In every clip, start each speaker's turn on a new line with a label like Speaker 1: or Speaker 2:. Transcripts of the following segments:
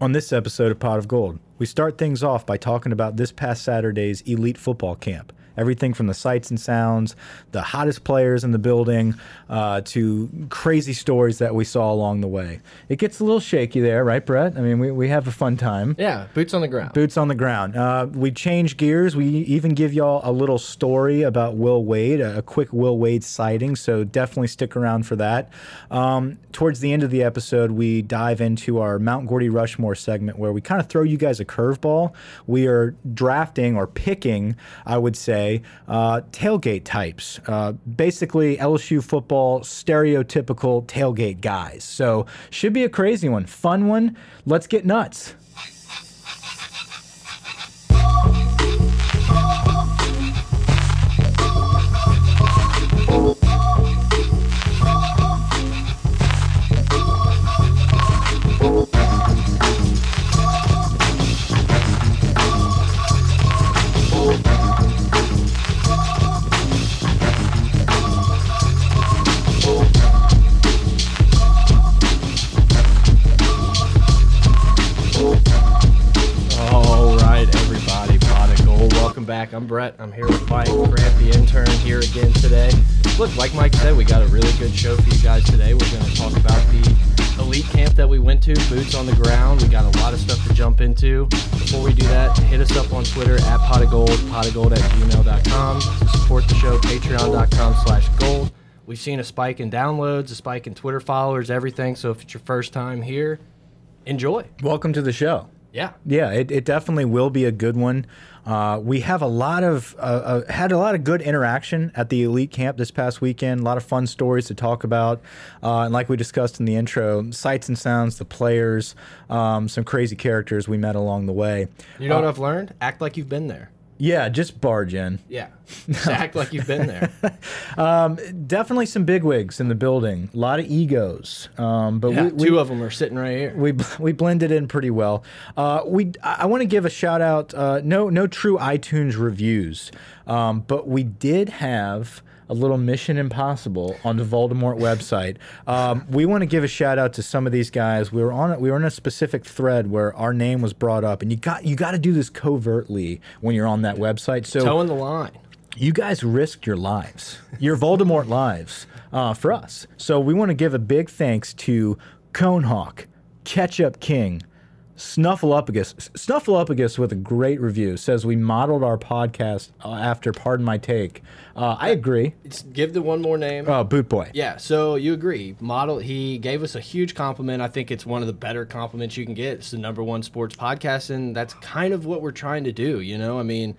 Speaker 1: On this episode of Pot of Gold, we start things off by talking about this past Saturday's elite football camp. Everything from the sights and sounds, the hottest players in the building, uh, to crazy stories that we saw along the way. It gets a little shaky there, right, Brett? I mean, we, we have a fun time.
Speaker 2: Yeah, boots on the ground.
Speaker 1: Boots on the ground. Uh, we change gears. We even give y'all a little story about Will Wade, a, a quick Will Wade sighting. So definitely stick around for that. Um, towards the end of the episode, we dive into our Mount Gordy Rushmore segment where we kind of throw you guys a curveball. We are drafting or picking, I would say, uh, tailgate types. Uh, basically, LSU football stereotypical tailgate guys. So should be a crazy one, fun one. Let's get nuts.
Speaker 2: All right, everybody, pot of gold. Welcome back. I'm Brett. I'm here with Mike Grant, the intern, here again today. Look, like Mike said, we got a really good show for you guys today. We're going to talk about the elite camp that we went to, boots on the ground. We got a lot of stuff to jump into. Before we do that, hit us up on Twitter at pot of gold, pot of gold at gmail.com. To support the show, patreon.com slash gold. We've seen a spike in downloads, a spike in Twitter followers, everything. So if it's your first time here, enjoy.
Speaker 1: Welcome to the show.
Speaker 2: Yeah.
Speaker 1: Yeah, it, it definitely will be a good one. Uh, we have a lot of uh, uh, had a lot of good interaction at the elite camp this past weekend. A lot of fun stories to talk about, uh, and like we discussed in the intro, sights and sounds, the players, um, some crazy characters we met along the way.
Speaker 2: You know what I've learned? Act like you've been there.
Speaker 1: Yeah, just barge in. Um,
Speaker 2: Yeah. Just act like you've been there.
Speaker 1: Definitely some bigwigs in the building. A lot of egos, um, but
Speaker 2: Yeah,
Speaker 1: we, we,
Speaker 2: two of them are sitting right here.
Speaker 1: we we blended in pretty well. Uh, we I want to give a shout out. Uh, no no true iTunes reviews, um, but we did have a little Mission Impossible on the Voldemort website. Um, we want to give a shout out to some of these guys. We were on a, we were in a specific thread where our name was brought up, and you got you got to do this covertly when you're on that website. So
Speaker 2: Towing the line.
Speaker 1: you guys risked your lives, your Voldemort lives, uh, for us. So we want to give a big thanks to Conehawk, Ketchup King, Snuffleupagus. S- Snuffleupagus with a great review says we modeled our podcast uh, after Pardon My Take. Uh, I agree.
Speaker 2: It's, give the one more name.
Speaker 1: Uh, Boot Boy.
Speaker 2: yeah, so you agree. Model he gave us a huge compliment. I think it's one of the better compliments you can get. It's the number one sports podcast, and that's kind of what we're trying to do, you know? I mean,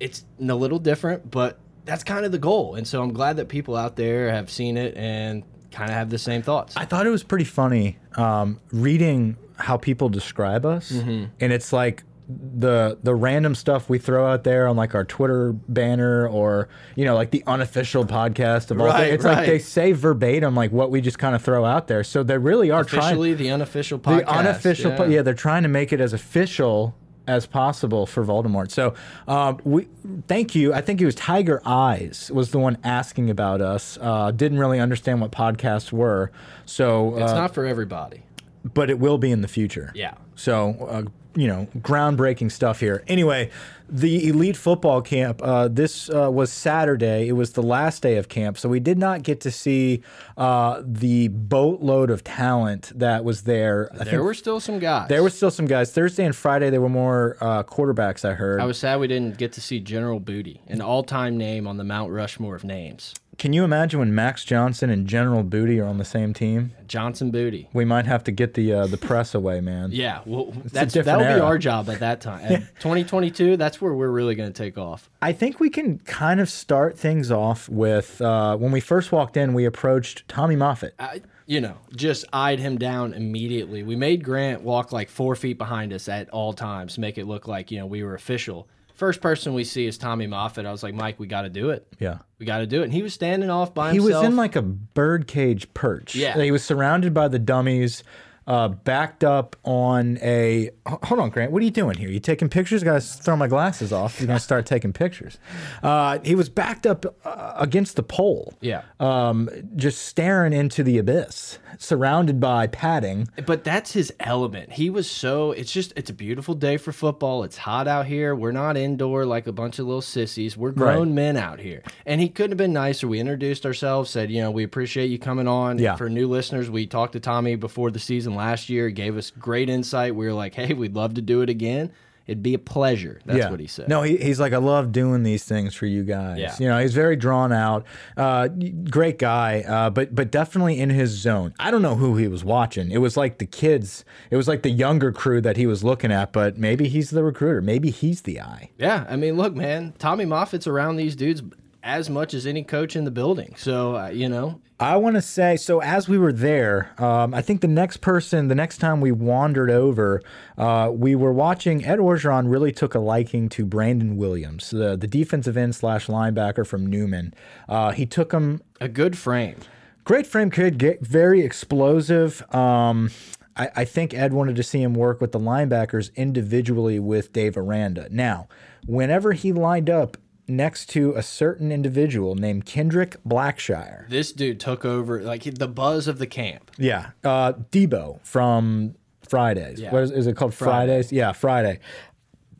Speaker 2: it's a little different, but that's kind of the goal. And so I'm glad that people out there have seen it and kind of have the same thoughts.
Speaker 1: I thought it was pretty funny um, reading how people describe us,
Speaker 2: Mm-hmm.
Speaker 1: and it's like the the random stuff we throw out there on like our Twitter banner or you know like the unofficial podcast of all
Speaker 2: Right,
Speaker 1: things. It's like
Speaker 2: right.
Speaker 1: they say verbatim like what we just kind of throw out there, so they really are trying
Speaker 2: Officially, the unofficial podcast.
Speaker 1: the unofficial. po-
Speaker 2: yeah.
Speaker 1: yeah, they're trying to make it as official as possible for Voldemort. So, um, we thank you. I think it was Tiger Eyes was the one asking about us. Uh, didn't really understand what podcasts were. So,
Speaker 2: It's
Speaker 1: uh,
Speaker 2: not for everybody.
Speaker 1: but it will be in the future.
Speaker 2: Yeah.
Speaker 1: So, uh, you know, groundbreaking stuff here. Anyway, the elite football camp. Uh, this uh, was Saturday. It was the last day of camp, so we did not get to see uh, the boatload of talent that was there. I
Speaker 2: There were still some guys.
Speaker 1: there was still some guys. Thursday and Friday, there were more uh, quarterbacks. I heard.
Speaker 2: I was sad we didn't get to see General Booty, an all-time name on the Mount Rushmore of names.
Speaker 1: Can you imagine when Max Johnson and General Booty are on the same team?
Speaker 2: Johnson Booty.
Speaker 1: We might have to get the uh, the press away, man.
Speaker 2: Yeah, well, that's
Speaker 1: different
Speaker 2: that would be
Speaker 1: era.
Speaker 2: our job at that time. At 2022, that's where we're really going to take off.
Speaker 1: I think we can kind of start things off with uh, when we first walked in. We approached Tommy Moffett.
Speaker 2: I, you know, just eyed him down immediately. We made Grant walk like four feet behind us at all times, make it look like you know we were official. First person we see is Tommy Moffat. I was like, Mike, we got to do it.
Speaker 1: Yeah.
Speaker 2: We got to do it. And he was standing off by
Speaker 1: He
Speaker 2: himself.
Speaker 1: was in like a birdcage perch.
Speaker 2: Yeah.
Speaker 1: He was surrounded by the dummies. uh, backed up on a. h- Hold on, Grant. What are you doing here? You taking pictures? Got to throw my glasses off. You're gonna start taking pictures. Uh, he was backed up uh, against the pole.
Speaker 2: Yeah.
Speaker 1: Um, just staring into the abyss, surrounded by padding.
Speaker 2: But that's his element. He was so. It's just. It's a beautiful day for football. It's hot out here. We're not indoor like a bunch of little sissies. We're grown
Speaker 1: Right.
Speaker 2: men out here. And he couldn't have been nicer. We introduced ourselves. Said, you know, we appreciate you coming on.
Speaker 1: Yeah.
Speaker 2: For new listeners, we talked to Tommy before the season last year. He Gave us great insight. We were like, hey, we'd love to do it again. It'd be a pleasure. That's what he said.
Speaker 1: No, he, he's like, I love doing these things for you guys.
Speaker 2: Yeah.
Speaker 1: You know, he's very drawn out, uh, great guy, uh, but but definitely in his zone. I don't know who he was watching. It was like the kids. It was like the younger crew that he was looking at. But maybe he's the recruiter. Maybe he's the eye.
Speaker 2: Yeah, I mean, look, man, Tommy Moffitt's around these dudes as much as any coach in the building. So uh, you know,
Speaker 1: I want to say so. As we were there, um, I think the next person, the next time we wandered over, uh, we were watching. Ed Orgeron really took a liking to Brandon Williams, the the defensive end slash linebacker from Newman. Uh, he took him
Speaker 2: a good frame.
Speaker 1: Great frame kid, get very explosive. Um, I, I think Ed wanted to see him work with the linebackers individually with Dave Aranda. Now, whenever he lined up next to a certain individual named Kendrick Blackshire,
Speaker 2: This dude took over like the buzz of the camp.
Speaker 1: yeah, uh, Debo from Fridays.
Speaker 2: Yeah.
Speaker 1: What is, is it called?
Speaker 2: Friday.
Speaker 1: Fridays. Yeah, Friday.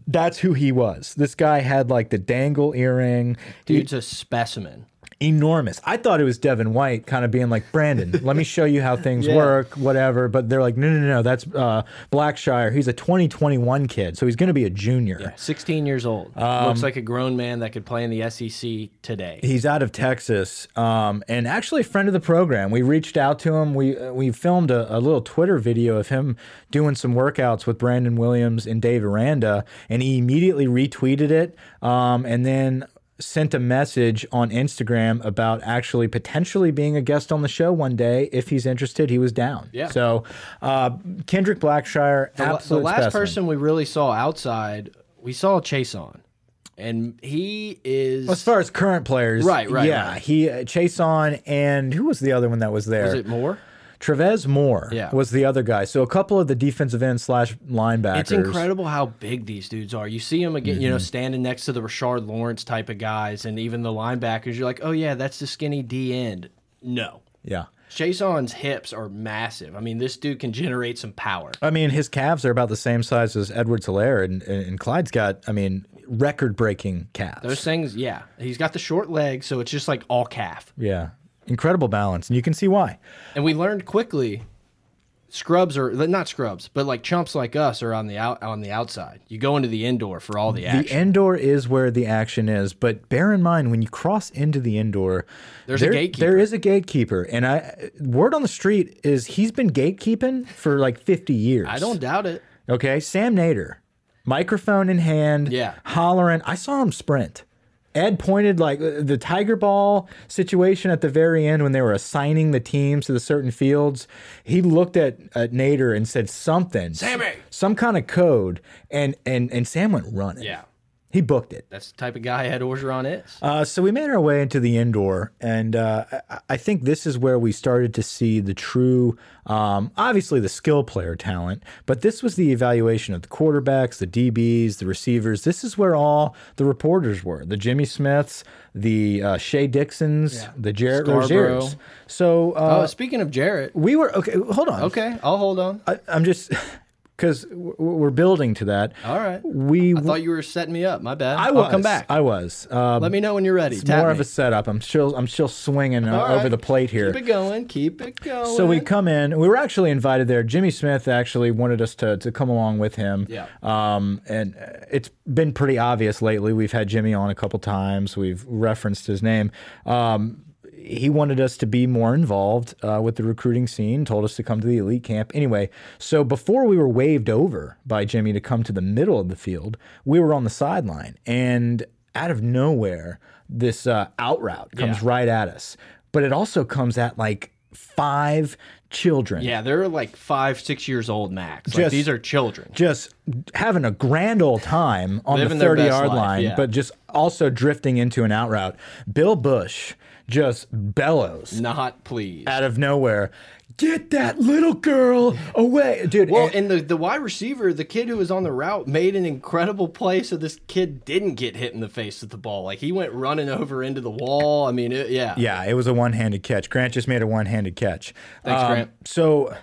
Speaker 1: That's who he was. This guy had like the dangle earring.
Speaker 2: Dude's a specimen.
Speaker 1: enormous. I thought it was Devin White kind of being like, Brandon, let me show you how things work, whatever. But they're like, no, no, no, no, that's uh, Blackshire. He's a 2021 kid, so he's going to be a junior.
Speaker 2: 16 years old. Looks like a grown man that could play in the SEC today.
Speaker 1: Um, He's out of Texas, um, and actually a friend of the program. We reached out to him. We uh, we filmed a, a little Twitter video of him doing some workouts with Brandon Williams and Dave Aranda, and he immediately retweeted it, um, and then sent a message on Instagram about actually potentially being a guest on the show one day if he's interested. He was down.
Speaker 2: Yeah.
Speaker 1: So uh, Kendrick Blackshire,
Speaker 2: The la-
Speaker 1: absolute
Speaker 2: the last
Speaker 1: specimen.
Speaker 2: person we really saw outside, we saw Chase on. And he is
Speaker 1: As far as current players,
Speaker 2: Right, right,
Speaker 1: yeah,
Speaker 2: right.
Speaker 1: he uh, Chase on, and who was the other one that was there?
Speaker 2: is it more?
Speaker 1: Trevez Moore
Speaker 2: Yeah.
Speaker 1: was the other guy. So a couple of the defensive end slash linebackers.
Speaker 2: It's incredible how big these dudes are. You see them again, you
Speaker 1: Mm-hmm.
Speaker 2: know, standing next to the Rashard Lawrence type of guys and even the linebackers. You're like, oh, yeah, that's the skinny D end. No.
Speaker 1: Yeah.
Speaker 2: Jason's hips are massive. I mean, this dude can generate some power.
Speaker 1: I mean, his calves are about the same size as Edwards Hilaire, and, and, and Clyde's got, I mean, record breaking calves.
Speaker 2: Those things, yeah. He's got the short legs, so it's just like all calf.
Speaker 1: yeah. Incredible balance. And you can see why.
Speaker 2: And we learned quickly scrubs are not scrubs, but like chumps like us are on the out on the outside. You go into the indoor for all the action.
Speaker 1: The indoor is where the action is, but bear in mind when you cross into the indoor,
Speaker 2: There's a
Speaker 1: there-
Speaker 2: gatekeeper.
Speaker 1: There is a gatekeeper, and I word on the street is he's been gatekeeping for like 50 years.
Speaker 2: I don't doubt it.
Speaker 1: Okay, Sam Nader, microphone in hand,
Speaker 2: Yeah.
Speaker 1: hollering. I saw him sprint. Ed pointed like uh, the Tiger Ball situation at the very end when they were assigning the teams to the certain fields. He looked at, at Nader and said something,
Speaker 2: Sammy!
Speaker 1: some kind of code, and and and Sam went running.
Speaker 2: Yeah.
Speaker 1: he booked it.
Speaker 2: That's the type of guy Ed Orgeron is.
Speaker 1: Uh, so we made our way into the indoor, and uh, I, I think this is where we started to see the true, um, obviously the skill player talent, but this was the evaluation of the quarterbacks, the DBs, the receivers. This is where all the reporters were: the Jimmy Smiths, the uh, Shea Dixons, the Jarrett
Speaker 2: Scarborough.
Speaker 1: Roziers. So uh,
Speaker 2: oh, speaking of Jarrett,
Speaker 1: we were okay. Hold on.
Speaker 2: okay, I'll hold on.
Speaker 1: I, I'm just because we're building to that.
Speaker 2: All right.
Speaker 1: We.
Speaker 2: I thought you were setting me up. My bad.
Speaker 1: I
Speaker 2: will
Speaker 1: was.
Speaker 2: come back.
Speaker 1: I was. Um,
Speaker 2: Let me know when you're ready.
Speaker 1: It's
Speaker 2: Tap
Speaker 1: more
Speaker 2: me.
Speaker 1: of a setup. I'm still I'm still swinging uh,
Speaker 2: All
Speaker 1: over
Speaker 2: right.
Speaker 1: the plate here.
Speaker 2: Keep it going. Keep it going.
Speaker 1: So we come in. We were actually invited there. Jimmy Smith actually wanted us to, to come along with him.
Speaker 2: Yeah.
Speaker 1: Um, and uh, it's been pretty obvious lately. We've had Jimmy on a couple times. We've referenced his name. Um, he wanted us to be more involved uh, with the recruiting scene. Told us to come to the elite camp. Anyway, so before we were waved over by Jimmy to come to the middle of the field, we were on the sideline, and out of nowhere, this uh, out route comes
Speaker 2: Yeah.
Speaker 1: right at us. But it also comes at like five children
Speaker 2: Yeah, they're like five, six years old max. like,
Speaker 1: Just-
Speaker 2: these are children.
Speaker 1: just having a grand old time on
Speaker 2: Living
Speaker 1: the
Speaker 2: their
Speaker 1: 30
Speaker 2: best
Speaker 1: yard
Speaker 2: life,
Speaker 1: line,
Speaker 2: yeah.
Speaker 1: but just also drifting into an out route. Bill Bush just bellows
Speaker 2: Not pleased.
Speaker 1: out of nowhere get that little girl away, dude.
Speaker 2: Well,
Speaker 1: and-
Speaker 2: Oh, and the, the wide receiver, the kid who was on the route, made an incredible play so this kid didn't get hit in the face with the ball. Like he went running over into the wall. I mean, it, yeah.
Speaker 1: yeah, it was a one-handed catch. Grant just made a one-handed catch. Um,
Speaker 2: Thanks, Grant.
Speaker 1: So,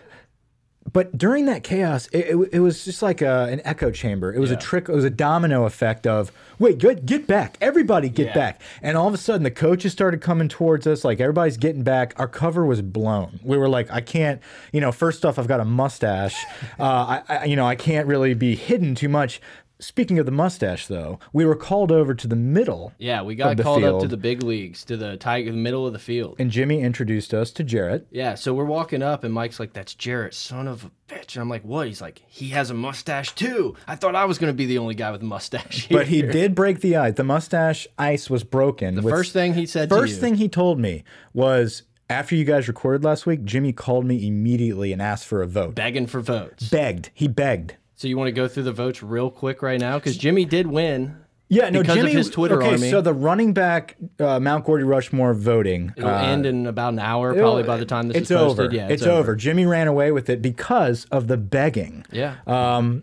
Speaker 1: but during that chaos, it, it, it was just like a, an echo chamber. It was a trick. It was a domino effect of wait, good, get back, everybody, get
Speaker 2: Yeah.
Speaker 1: back. And all of a sudden, the coaches started coming towards us. Like everybody's getting back. Our cover was blown. We were like, I can't. You know, first off, I've got a mustache. uh, I, I, you know, I can't really be hidden too much. Speaking of the mustache, though, we were called over to the middle.
Speaker 2: Yeah, we got
Speaker 1: the
Speaker 2: called up to
Speaker 1: field.
Speaker 2: the big leagues, to the tiger, the middle of the field.
Speaker 1: And Jimmy introduced us to Jarrett.
Speaker 2: Yeah, so we're walking up, and Mike's like, "That's Jarrett, son of a bitch." And I'm like, "What?" He's like, "He has a mustache too." I thought I was gonna be the only guy with a mustache. Here.
Speaker 1: But he did break the ice. The mustache ice was broken. The
Speaker 2: first thing he said, to
Speaker 1: first
Speaker 2: you,
Speaker 1: thing he told me was after you guys recorded last week, Jimmy called me immediately and asked for a vote.
Speaker 2: begging for votes.
Speaker 1: Begged. He begged.
Speaker 2: So you want to go through the votes real quick right now because Jimmy did win.
Speaker 1: Yeah, no,
Speaker 2: Because of
Speaker 1: Jimmy.
Speaker 2: his Twitter
Speaker 1: okay,
Speaker 2: army.
Speaker 1: so the running back uh, Mount Gordy Rushmore voting.
Speaker 2: It'll
Speaker 1: uh,
Speaker 2: end in about an hour, probably by the time this
Speaker 1: it's
Speaker 2: is posted.
Speaker 1: over.
Speaker 2: Yeah,
Speaker 1: it's, over. Jimmy ran away with it because of the begging.
Speaker 2: Yeah,
Speaker 1: Uh,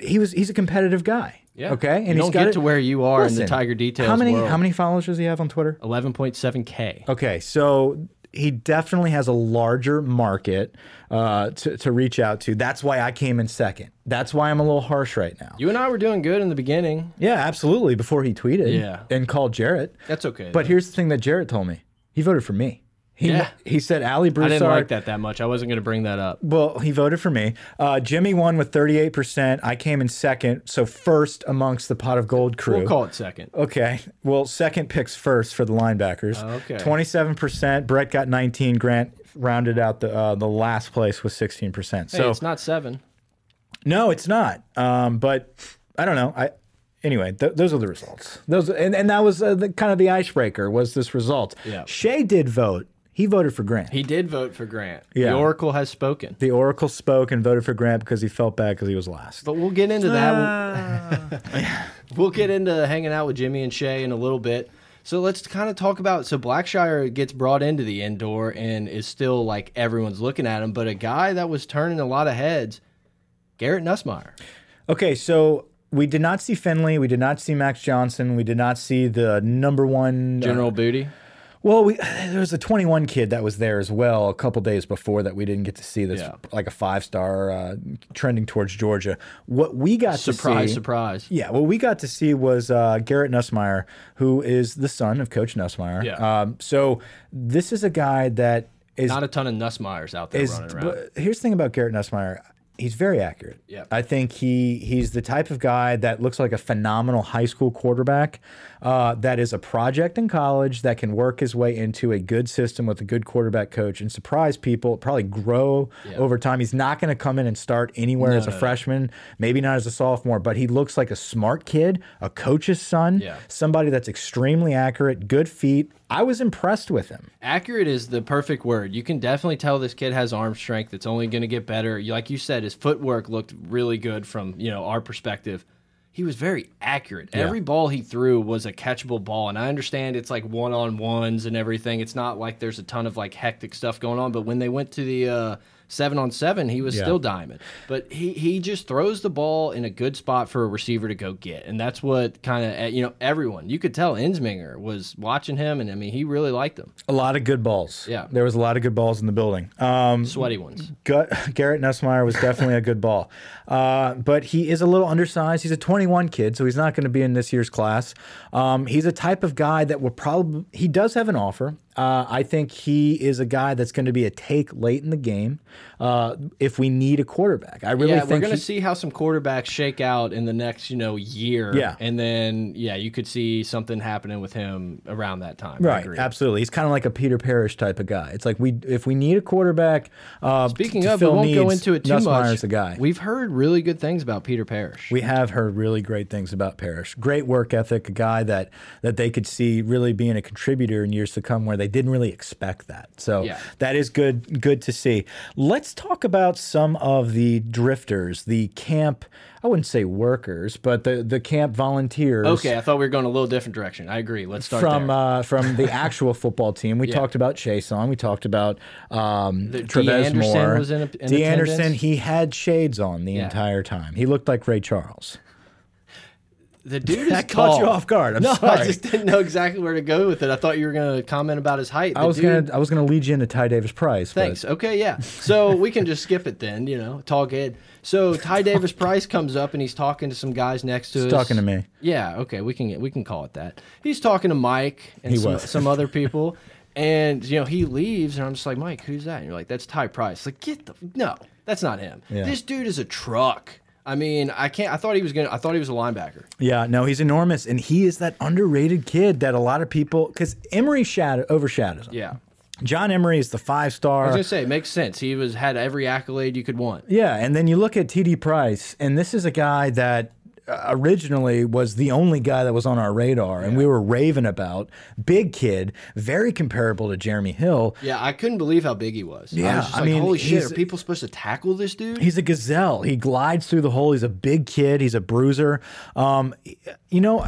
Speaker 1: He was he's a competitive guy.
Speaker 2: yeah.
Speaker 1: Okay,
Speaker 2: you
Speaker 1: he's
Speaker 2: don't
Speaker 1: got
Speaker 2: get
Speaker 1: it-
Speaker 2: to where you are in
Speaker 1: Listen,
Speaker 2: the Tiger Details
Speaker 1: How many
Speaker 2: world.
Speaker 1: how many followers does he have on Twitter?
Speaker 2: 11.7k.
Speaker 1: Okay, so he definitely has a larger market uh, to, to reach out to. That's why I came in second. That's why I'm a little harsh right now.
Speaker 2: You and I were doing good in the beginning.
Speaker 1: Yeah, absolutely. Before he tweeted
Speaker 2: Yeah.
Speaker 1: and called Jarrett.
Speaker 2: That's okay.
Speaker 1: But here's the thing that Jarrett told me he voted for me. He,
Speaker 2: Yeah.
Speaker 1: he said Ali Broussard.
Speaker 2: I didn't like that that much. I wasn't going to bring that up.
Speaker 1: Well, he voted for me. Uh, Jimmy won with 38%. I came in second, so first amongst the pot of gold crew.
Speaker 2: We'll call it second.
Speaker 1: Okay. Well, second picks first for the linebackers.
Speaker 2: Okay.
Speaker 1: Twenty-seven percent. Brett got nineteen. Grant rounded out the uh, the last place with sixteen percent.
Speaker 2: Hey,
Speaker 1: So
Speaker 2: it's not seven.
Speaker 1: no, it's not. Um, but I don't know. I anyway. Th those are the results. Those and, and that was uh, the, kind of the icebreaker was this result.
Speaker 2: Yeah.
Speaker 1: Shea did vote. He voted for Grant.
Speaker 2: He did vote for Grant.
Speaker 1: Yeah.
Speaker 2: The Oracle has spoken.
Speaker 1: the Oracle spoke and voted for Grant because he felt bad because he was last.
Speaker 2: But we'll get into that.
Speaker 1: Uh,
Speaker 2: We'll- we'll get into hanging out with Jimmy and Shay in a little bit. So let's kind of talk about so Blackshire gets brought into the indoor and is still like everyone's looking at him, but a guy that was turning a lot of heads, Garrett Nussmeyer.
Speaker 1: Okay, so we did not see Finley. We did not see Max Johnson. We did not see the number one uh,
Speaker 2: General Booty.
Speaker 1: Well, we, there was a 21 kid that was there as well a couple days before that we didn't get to see. That's
Speaker 2: Yeah.
Speaker 1: like a five star uh, trending towards Georgia. What we got to
Speaker 2: Surprise,
Speaker 1: see,
Speaker 2: surprise.
Speaker 1: yeah, what we got to see was uh, Garrett Nussmeyer, who is the son of Coach Nussmeyer.
Speaker 2: Yeah.
Speaker 1: Um, so this is a guy that is
Speaker 2: Not a ton of Nussmeyers out there
Speaker 1: is-
Speaker 2: running around.
Speaker 1: but here's the thing about Garrett Nussmeyer. He's very accurate.
Speaker 2: Yeah.
Speaker 1: I think he he's the type of guy that looks like a phenomenal high school quarterback uh, that is a project in college that can work his way into a good system with a good quarterback coach and surprise people, probably grow over time. He's not going to come in and start anywhere as a freshman, maybe not as a sophomore, but he looks like a smart kid, a coach's son,
Speaker 2: Yeah.
Speaker 1: somebody that's extremely accurate, good feet. I was impressed with him.
Speaker 2: Accurate is the perfect word. You can definitely tell this kid has arm strength. It's only going to get better. You- Like you said, his footwork looked really good from you know our perspective. He was very accurate. Every ball he threw was a catchable ball, and I understand it's like one on ones and everything. It's not like there's a ton of like hectic stuff going on. But when they went to the uh, seven on seven, he was still diamond. But he he just throws the ball in a good spot for a receiver to go get, and that's what kind of you know everyone you could tell Insminger was watching him, and I mean he really liked him.
Speaker 1: A lot of good balls.
Speaker 2: Yeah.
Speaker 1: There was a lot of good balls in the building. Um,
Speaker 2: sweaty ones.
Speaker 1: Gut, Garrett Nussmeyer was definitely a good ball. Uh, but he is a little undersized. He's a 21 kid, so he's not going to be in this year's class. Um, he's a type of guy that will probably, he does have an offer. Uh, I think he is a guy that's going to be a take late in the game uh, if we need a quarterback. I really
Speaker 2: yeah, we're
Speaker 1: think
Speaker 2: gonna
Speaker 1: he-
Speaker 2: see how some quarterbacks shake out in the next, you know, year.
Speaker 1: Yeah.
Speaker 2: and then yeah, you could see something happening with him around that time. I
Speaker 1: Right,
Speaker 2: agree.
Speaker 1: absolutely. He's kind of like a Peter Parrish type of guy. It's like we, if we need a quarterback, uh,
Speaker 2: Speaking
Speaker 1: to
Speaker 2: of, we
Speaker 1: fill
Speaker 2: won't go
Speaker 1: needs,
Speaker 2: into it too much.
Speaker 1: Nussmeier's the guy.
Speaker 2: We've heard really good things about Peter Parrish.
Speaker 1: We have heard really great things about Parrish. Great work ethic, a guy that that they could see really being a contributor in years to come, where I didn't really expect that. So
Speaker 2: Yeah.
Speaker 1: that is good good to see. Let's talk about some of the drifters, the camp. I wouldn't say workers, but the the camp volunteers.
Speaker 2: Okay, I thought we were going a little different direction. I agree. Let's start
Speaker 1: From
Speaker 2: there.
Speaker 1: uh, from the actual football team, we talked about Chase on. We talked about um, Trevez
Speaker 2: Anderson
Speaker 1: Moore.
Speaker 2: was in a- in
Speaker 1: Dee Anderson,
Speaker 2: attendance?
Speaker 1: he had shades on the entire time. He looked like Ray Charles.
Speaker 2: the dude is
Speaker 1: that caught you
Speaker 2: tall.
Speaker 1: off guard. I'm
Speaker 2: no, I
Speaker 1: sorry.
Speaker 2: just didn't know exactly where to go with it. I thought you were going to comment about his height.
Speaker 1: I was gonna I was gonna lead you into Ty Davis Price. but-
Speaker 2: Thanks. Okay, yeah. So we can just skip it then, you know, tall kid. So Ty Davis Price comes up and he's talking to some guys next to us.
Speaker 1: talking to me.
Speaker 2: Yeah, okay, we can we can call it that. He's talking to Mike and
Speaker 1: He
Speaker 2: some,
Speaker 1: was.
Speaker 2: some other people. And you know, he leaves and I'm just like, Mike, who's that? And you're like, That's Ty Price. Like, get the no, that's not him.
Speaker 1: Yeah.
Speaker 2: This dude is a truck. I mean, I can't I thought he was gonna I thought he was a linebacker.
Speaker 1: Yeah, no, he's enormous, and he is that underrated kid that a lot of people because Emery shadow overshadows him.
Speaker 2: Yeah.
Speaker 1: John Emery is the five
Speaker 2: I was
Speaker 1: star.
Speaker 2: gonna say it makes sense. He was had every accolade you could want.
Speaker 1: Yeah, and then you look at TD Price, and this is a guy that uh, originally was the only guy that was on our radar, and we were raving about. Big kid, very comparable to Jeremy Hill.
Speaker 2: Yeah, I couldn't believe how big he was. I
Speaker 1: Yeah,
Speaker 2: was just
Speaker 1: I
Speaker 2: like,
Speaker 1: mean,
Speaker 2: holy shit,
Speaker 1: he's-
Speaker 2: are people supposed to tackle this dude?
Speaker 1: He's a gazelle. He glides through the hole. He's a big kid. He's a bruiser. Um, you know,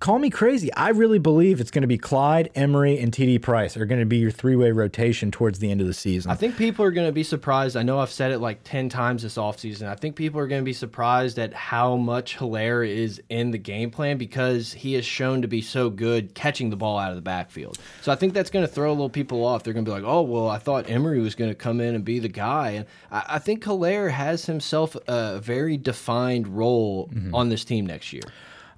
Speaker 1: call me crazy. I really believe it's going to be Clyde, Emery, and TD Price are going to be your three way rotation towards the end of the season.
Speaker 2: I think people are going to be surprised. I know I've said it like 10 times this offseason. I think people are going to be surprised at how much Hilaire is in the game plan because he is shown to be so good catching the ball out of the backfield. So I think that's going to throw a little people off. They're going to be like, oh, well, I thought Emery was going to come in and be the guy. And I, I think Hilaire has himself a very defined role
Speaker 1: Mm-hmm.
Speaker 2: on this team next year.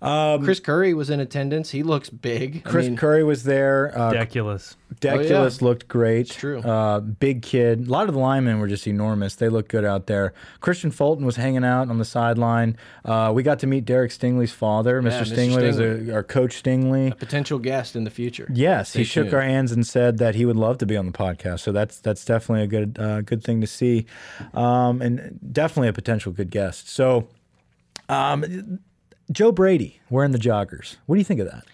Speaker 2: Chris Curry was in attendance. He looks big.
Speaker 1: Um, Chris
Speaker 2: I mean, Oh,
Speaker 1: Curry was there. Uh,
Speaker 3: Ridiculous.
Speaker 1: Deculus looked great.
Speaker 2: true.
Speaker 1: Uh, big kid. A lot of the linemen were just enormous. They looked good out there. Christian Fulton was hanging out on the sideline. Uh, we got to meet Derek Stingley's father, Mr.
Speaker 2: Mr.
Speaker 1: Stingley, was a, our coach Stingley.
Speaker 2: potential guest in the future.
Speaker 1: Yes, he
Speaker 2: Stay
Speaker 1: shook
Speaker 2: tuned.
Speaker 1: our hands and said that he would love to be on the podcast. So that's that's definitely a good uh, good thing to see, um, and definitely a potential good guest. So, um, Joe Brady wearing the joggers. What do you think of that?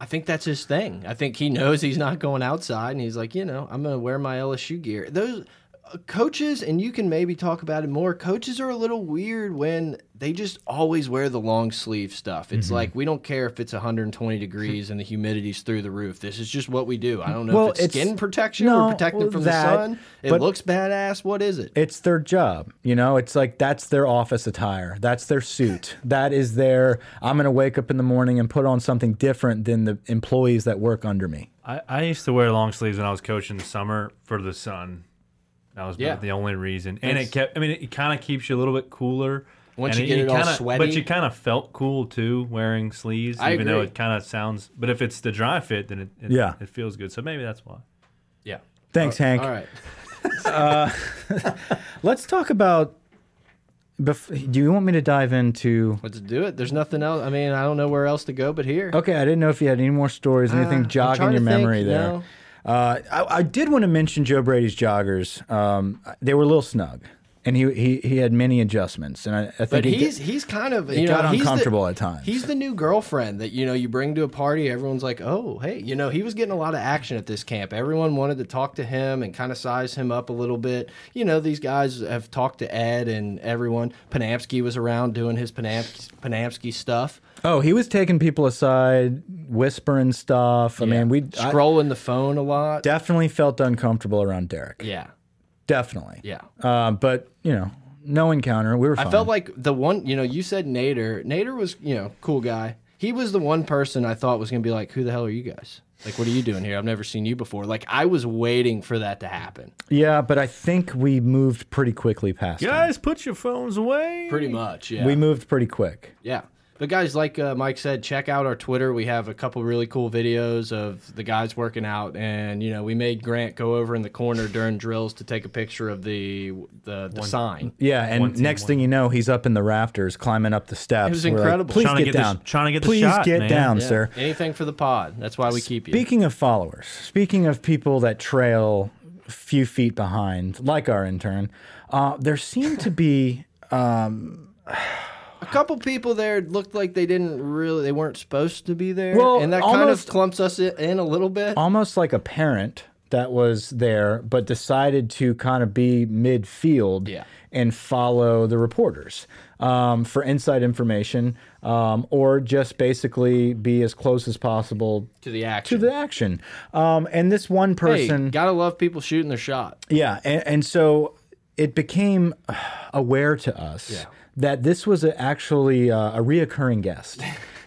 Speaker 2: I think that's his thing. I think he knows he's not going outside, and he's like, you know, I'm going to wear my LSU gear. Those uh, coaches, and you can maybe talk about it more. Coaches are a little weird when they just always wear the long sleeve stuff.
Speaker 1: Mm-hmm.
Speaker 2: It's like we don't care if it's 120 degrees and the humidity's through the roof. This is just what we do. I don't know
Speaker 1: Well,
Speaker 2: if it's,
Speaker 1: it's-
Speaker 2: skin protection.
Speaker 1: no,
Speaker 2: We're protected
Speaker 1: well,
Speaker 2: from
Speaker 1: that,
Speaker 2: the sun. It
Speaker 1: but-
Speaker 2: looks badass. What is it?
Speaker 1: It's their job, you know. It's like that's their office attire. That's their suit. That is their. I'm going to wake up in the morning and put on something different than the employees that work under me.
Speaker 3: I, I used to wear long sleeves when I was coaching the summer for the sun. That was
Speaker 2: Yeah.
Speaker 3: about the only reason, and
Speaker 2: It's-
Speaker 3: it kept. I mean, it, kind of keeps you a little bit cooler.
Speaker 2: Once
Speaker 3: and
Speaker 2: you get it all
Speaker 3: kinda,
Speaker 2: sweaty.
Speaker 3: but you kind of felt cool too wearing sleeves,
Speaker 2: I
Speaker 3: even though
Speaker 2: agree.
Speaker 3: it kind of sounds. But if it's the dry fit, then it, it
Speaker 1: Yeah.
Speaker 3: it feels good. So maybe that's why.
Speaker 2: Yeah.
Speaker 1: Thanks, Hank.
Speaker 2: All right.
Speaker 1: Let's talk about. Bef- do you want me to dive into?
Speaker 2: Let's do it. There's nothing else. I mean, I don't know where else to go but here.
Speaker 1: Okay, I didn't know if you had any more stories, anything
Speaker 2: Uh, I'm
Speaker 1: jogging
Speaker 2: trying
Speaker 1: your
Speaker 2: to think,
Speaker 1: memory there.
Speaker 2: no.
Speaker 1: Uh, I, I did want to mention Joe Brady's joggers. Um, they were a little snug, and he he, he had many adjustments, and I, I think
Speaker 2: But
Speaker 1: he
Speaker 2: he's
Speaker 1: did-
Speaker 2: he's kind of you
Speaker 1: got
Speaker 2: know, he's the-
Speaker 1: uncomfortable at times.
Speaker 2: He's the new girlfriend that you know you bring to a party. Everyone's like, oh hey, you know he was getting a lot of action at this camp. Everyone wanted to talk to him and kind of size him up a little bit. You know these guys have talked to Ed and everyone. Panamsky was around doing his Panams Panamsky stuff.
Speaker 1: oh he was taking people aside, whispering stuff. I mean, we I
Speaker 2: scrolling the phone a lot.
Speaker 1: definitely felt uncomfortable around Derek.
Speaker 2: Yeah,
Speaker 1: Definitely.
Speaker 2: yeah.
Speaker 1: Uh, but you know, no encounter. We were. Fine.
Speaker 2: I felt like the one, you know, you said Nader. Nader was, you know, cool guy. He was the one person I thought was going to be like, who the hell are you guys? Like, what are you doing here? I've never seen you before. Like, I was waiting for that to happen.
Speaker 1: yeah, but I think we moved pretty quickly past. him.
Speaker 3: Guys, put your phones away.
Speaker 2: Pretty much. Yeah.
Speaker 1: We moved pretty quick.
Speaker 2: yeah. But, guys, like uh, Mike said, check out our Twitter. We have a couple really cool videos of the guys working out. And, you know, we made Grant go over in the corner during drills to take a picture of the the, the sign.
Speaker 1: Yeah, and
Speaker 3: One team,
Speaker 1: next
Speaker 3: one
Speaker 1: thing you know, he's up in the rafters, climbing up the steps.
Speaker 2: was
Speaker 1: We're like,
Speaker 2: incredible.
Speaker 1: Please
Speaker 3: Trying to
Speaker 1: get,
Speaker 3: get this-
Speaker 1: down.
Speaker 3: trying to get the
Speaker 1: Please
Speaker 3: shot,
Speaker 1: get
Speaker 3: man.
Speaker 1: down,
Speaker 2: Yeah.
Speaker 1: sir.
Speaker 2: Anything for the pod. That's why we keep you.
Speaker 1: Speaking of followers, speaking of people that trail a few feet behind, like our intern, uh, there seem to be. Um,
Speaker 2: couple people there looked like they didn't really, they weren't supposed to be there.
Speaker 1: Well,
Speaker 2: and that kind of
Speaker 1: almost-
Speaker 2: clumps us i- in a little bit.
Speaker 1: almost like a parent that was there but decided to kind of be midfield
Speaker 2: Yeah.
Speaker 1: and follow the reporters um, for inside information um, or just basically be as close as possible
Speaker 2: to the
Speaker 1: to
Speaker 2: action.
Speaker 1: the action um, and this one
Speaker 2: Hey,
Speaker 1: person
Speaker 2: gotta love people shooting their shot.
Speaker 1: yeah, and, and so it became aware to us that this was a, actually uh, a reoccurring guest,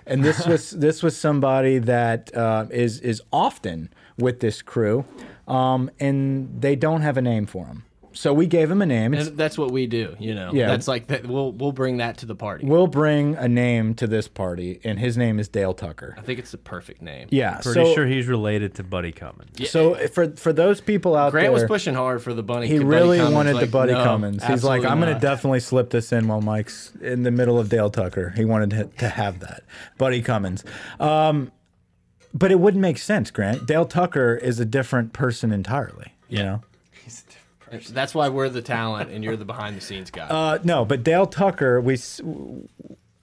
Speaker 1: and this was this was somebody that uh, is is often with this crew, um, and they don't have a name for him. So we gave him a name. It's-
Speaker 2: And that's what we do, you know.
Speaker 1: Yeah.
Speaker 2: That's like that. We'll we'll bring that to the party.
Speaker 1: we'll bring a name to this party, and his name is Dale Tucker.
Speaker 2: I think it's the perfect name.
Speaker 1: Yeah,
Speaker 3: Pretty
Speaker 1: so,
Speaker 3: sure he's related to Buddy Cummins.
Speaker 1: So for for those people out
Speaker 2: Grant
Speaker 1: there,
Speaker 2: was pushing hard for the bunny.
Speaker 1: He
Speaker 2: Buddy
Speaker 1: really
Speaker 2: Cummins,
Speaker 1: wanted the
Speaker 2: like,
Speaker 1: Buddy
Speaker 2: no,
Speaker 1: Cummins. He's like,
Speaker 2: absolutely
Speaker 1: I'm going to
Speaker 2: not."
Speaker 1: definitely slip this in while Mike's in the middle of Dale Tucker. He wanted to- to have that. Buddy Cummins. Um, but it wouldn't make sense, Grant. Dale Tucker is a different person entirely. You know?
Speaker 2: That's why we're the talent and you're the behind the scenes guy.
Speaker 1: Uh, no, but Dale Tucker, we. s-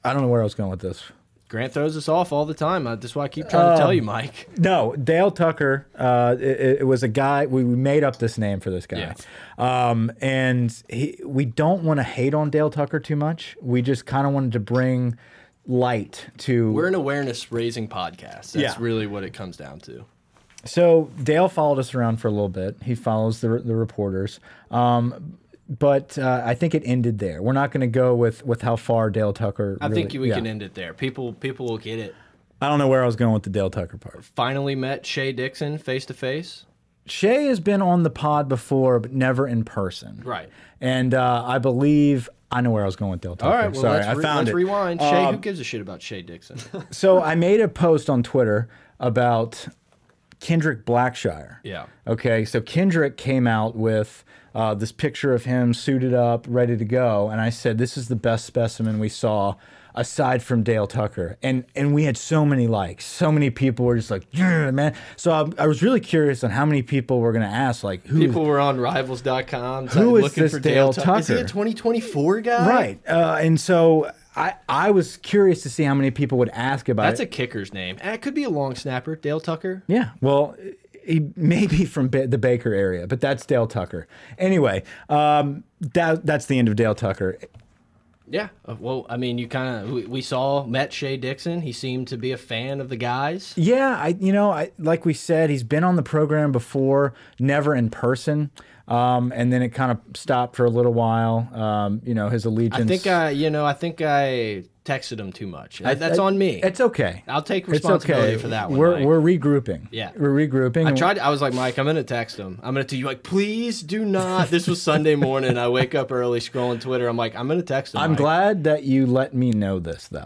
Speaker 1: I don't know where I was going with this.
Speaker 2: Grant throws us off all the time. Uh, That's why I keep trying to
Speaker 1: um,
Speaker 2: tell you, Mike.
Speaker 1: No, Dale Tucker. Uh, it, it was a guy. We we made up this name for this guy, um, and he, we don't want to hate on Dale Tucker too much. We just kind of wanted to bring light to.
Speaker 2: We're an awareness raising podcast. That's
Speaker 1: Yeah.
Speaker 2: really what it comes down to.
Speaker 1: so Dale followed us around for a little bit. He follows the the reporters. Um, but uh, I think it ended there. We're not going to go with, with how far Dale Tucker.
Speaker 2: I think we can end it there. People people will get it.
Speaker 1: I don't know where I was going with the Dale Tucker part.
Speaker 2: Finally met Shay Dixon face to face.
Speaker 1: Shay has been on the pod before, but never in person.
Speaker 2: Right.
Speaker 1: And uh, I believe I know where I was going with Dale Tucker.
Speaker 2: All right, well,
Speaker 1: Sorry,
Speaker 2: let's,
Speaker 1: I
Speaker 2: re-
Speaker 1: found
Speaker 2: let's
Speaker 1: it. Uh, Um,
Speaker 2: rewind. Shay, who gives a shit about Shay Dixon?
Speaker 1: So I made a post on Twitter about Kendrick Blackshire.
Speaker 2: Yeah.
Speaker 1: Okay. So Kendrick came out with uh, this picture of him suited up, ready to go, and I said, "This is the best specimen we saw." Aside from Dale Tucker, and and we had so many likes, so many people were just like, "Yeah, man. So I, I was really curious on how many people were gonna ask, like, who
Speaker 2: People were on rivals.com
Speaker 1: Who is
Speaker 2: looking
Speaker 1: this
Speaker 2: for Dale,
Speaker 1: Dale
Speaker 2: Tucker. Is he a
Speaker 1: Tucker?
Speaker 2: 2024 guy?
Speaker 1: Right. Uh, and so I, I was curious to see how many people would ask about
Speaker 2: That's
Speaker 1: it.
Speaker 2: a kicker's name. Eh, It could be a long snapper, Dale Tucker.
Speaker 1: yeah. Well, he may be from ba the Baker area, but that's Dale Tucker. Anyway, um, that, that's the end of Dale Tucker.
Speaker 2: Yeah. Uh, Well, I mean, you kind of we, we saw met Shay Dixon. He seemed to be a fan of the guys.
Speaker 1: Yeah, I you know, I like we said, he's been on the program before, never in person. Um, and then it kind of stopped for a little while. Um, you know, his allegiance.
Speaker 2: I think uh, I, you know, I think I texted him too much. That's on me.
Speaker 1: It's okay.
Speaker 2: I'll take
Speaker 1: It's
Speaker 2: responsibility
Speaker 1: okay.
Speaker 2: for that one.
Speaker 1: We're,
Speaker 2: Mike.
Speaker 1: we're regrouping.
Speaker 2: Yeah.
Speaker 1: We're regrouping.
Speaker 2: I tried. I was like, Mike, I'm gonna text him. I'm gonna do you like, please do not. This was Sunday morning. I wake up early, scrolling Twitter. I'm like, I'm gonna text him.
Speaker 1: I'm
Speaker 2: Mike.
Speaker 1: glad that you let me know this though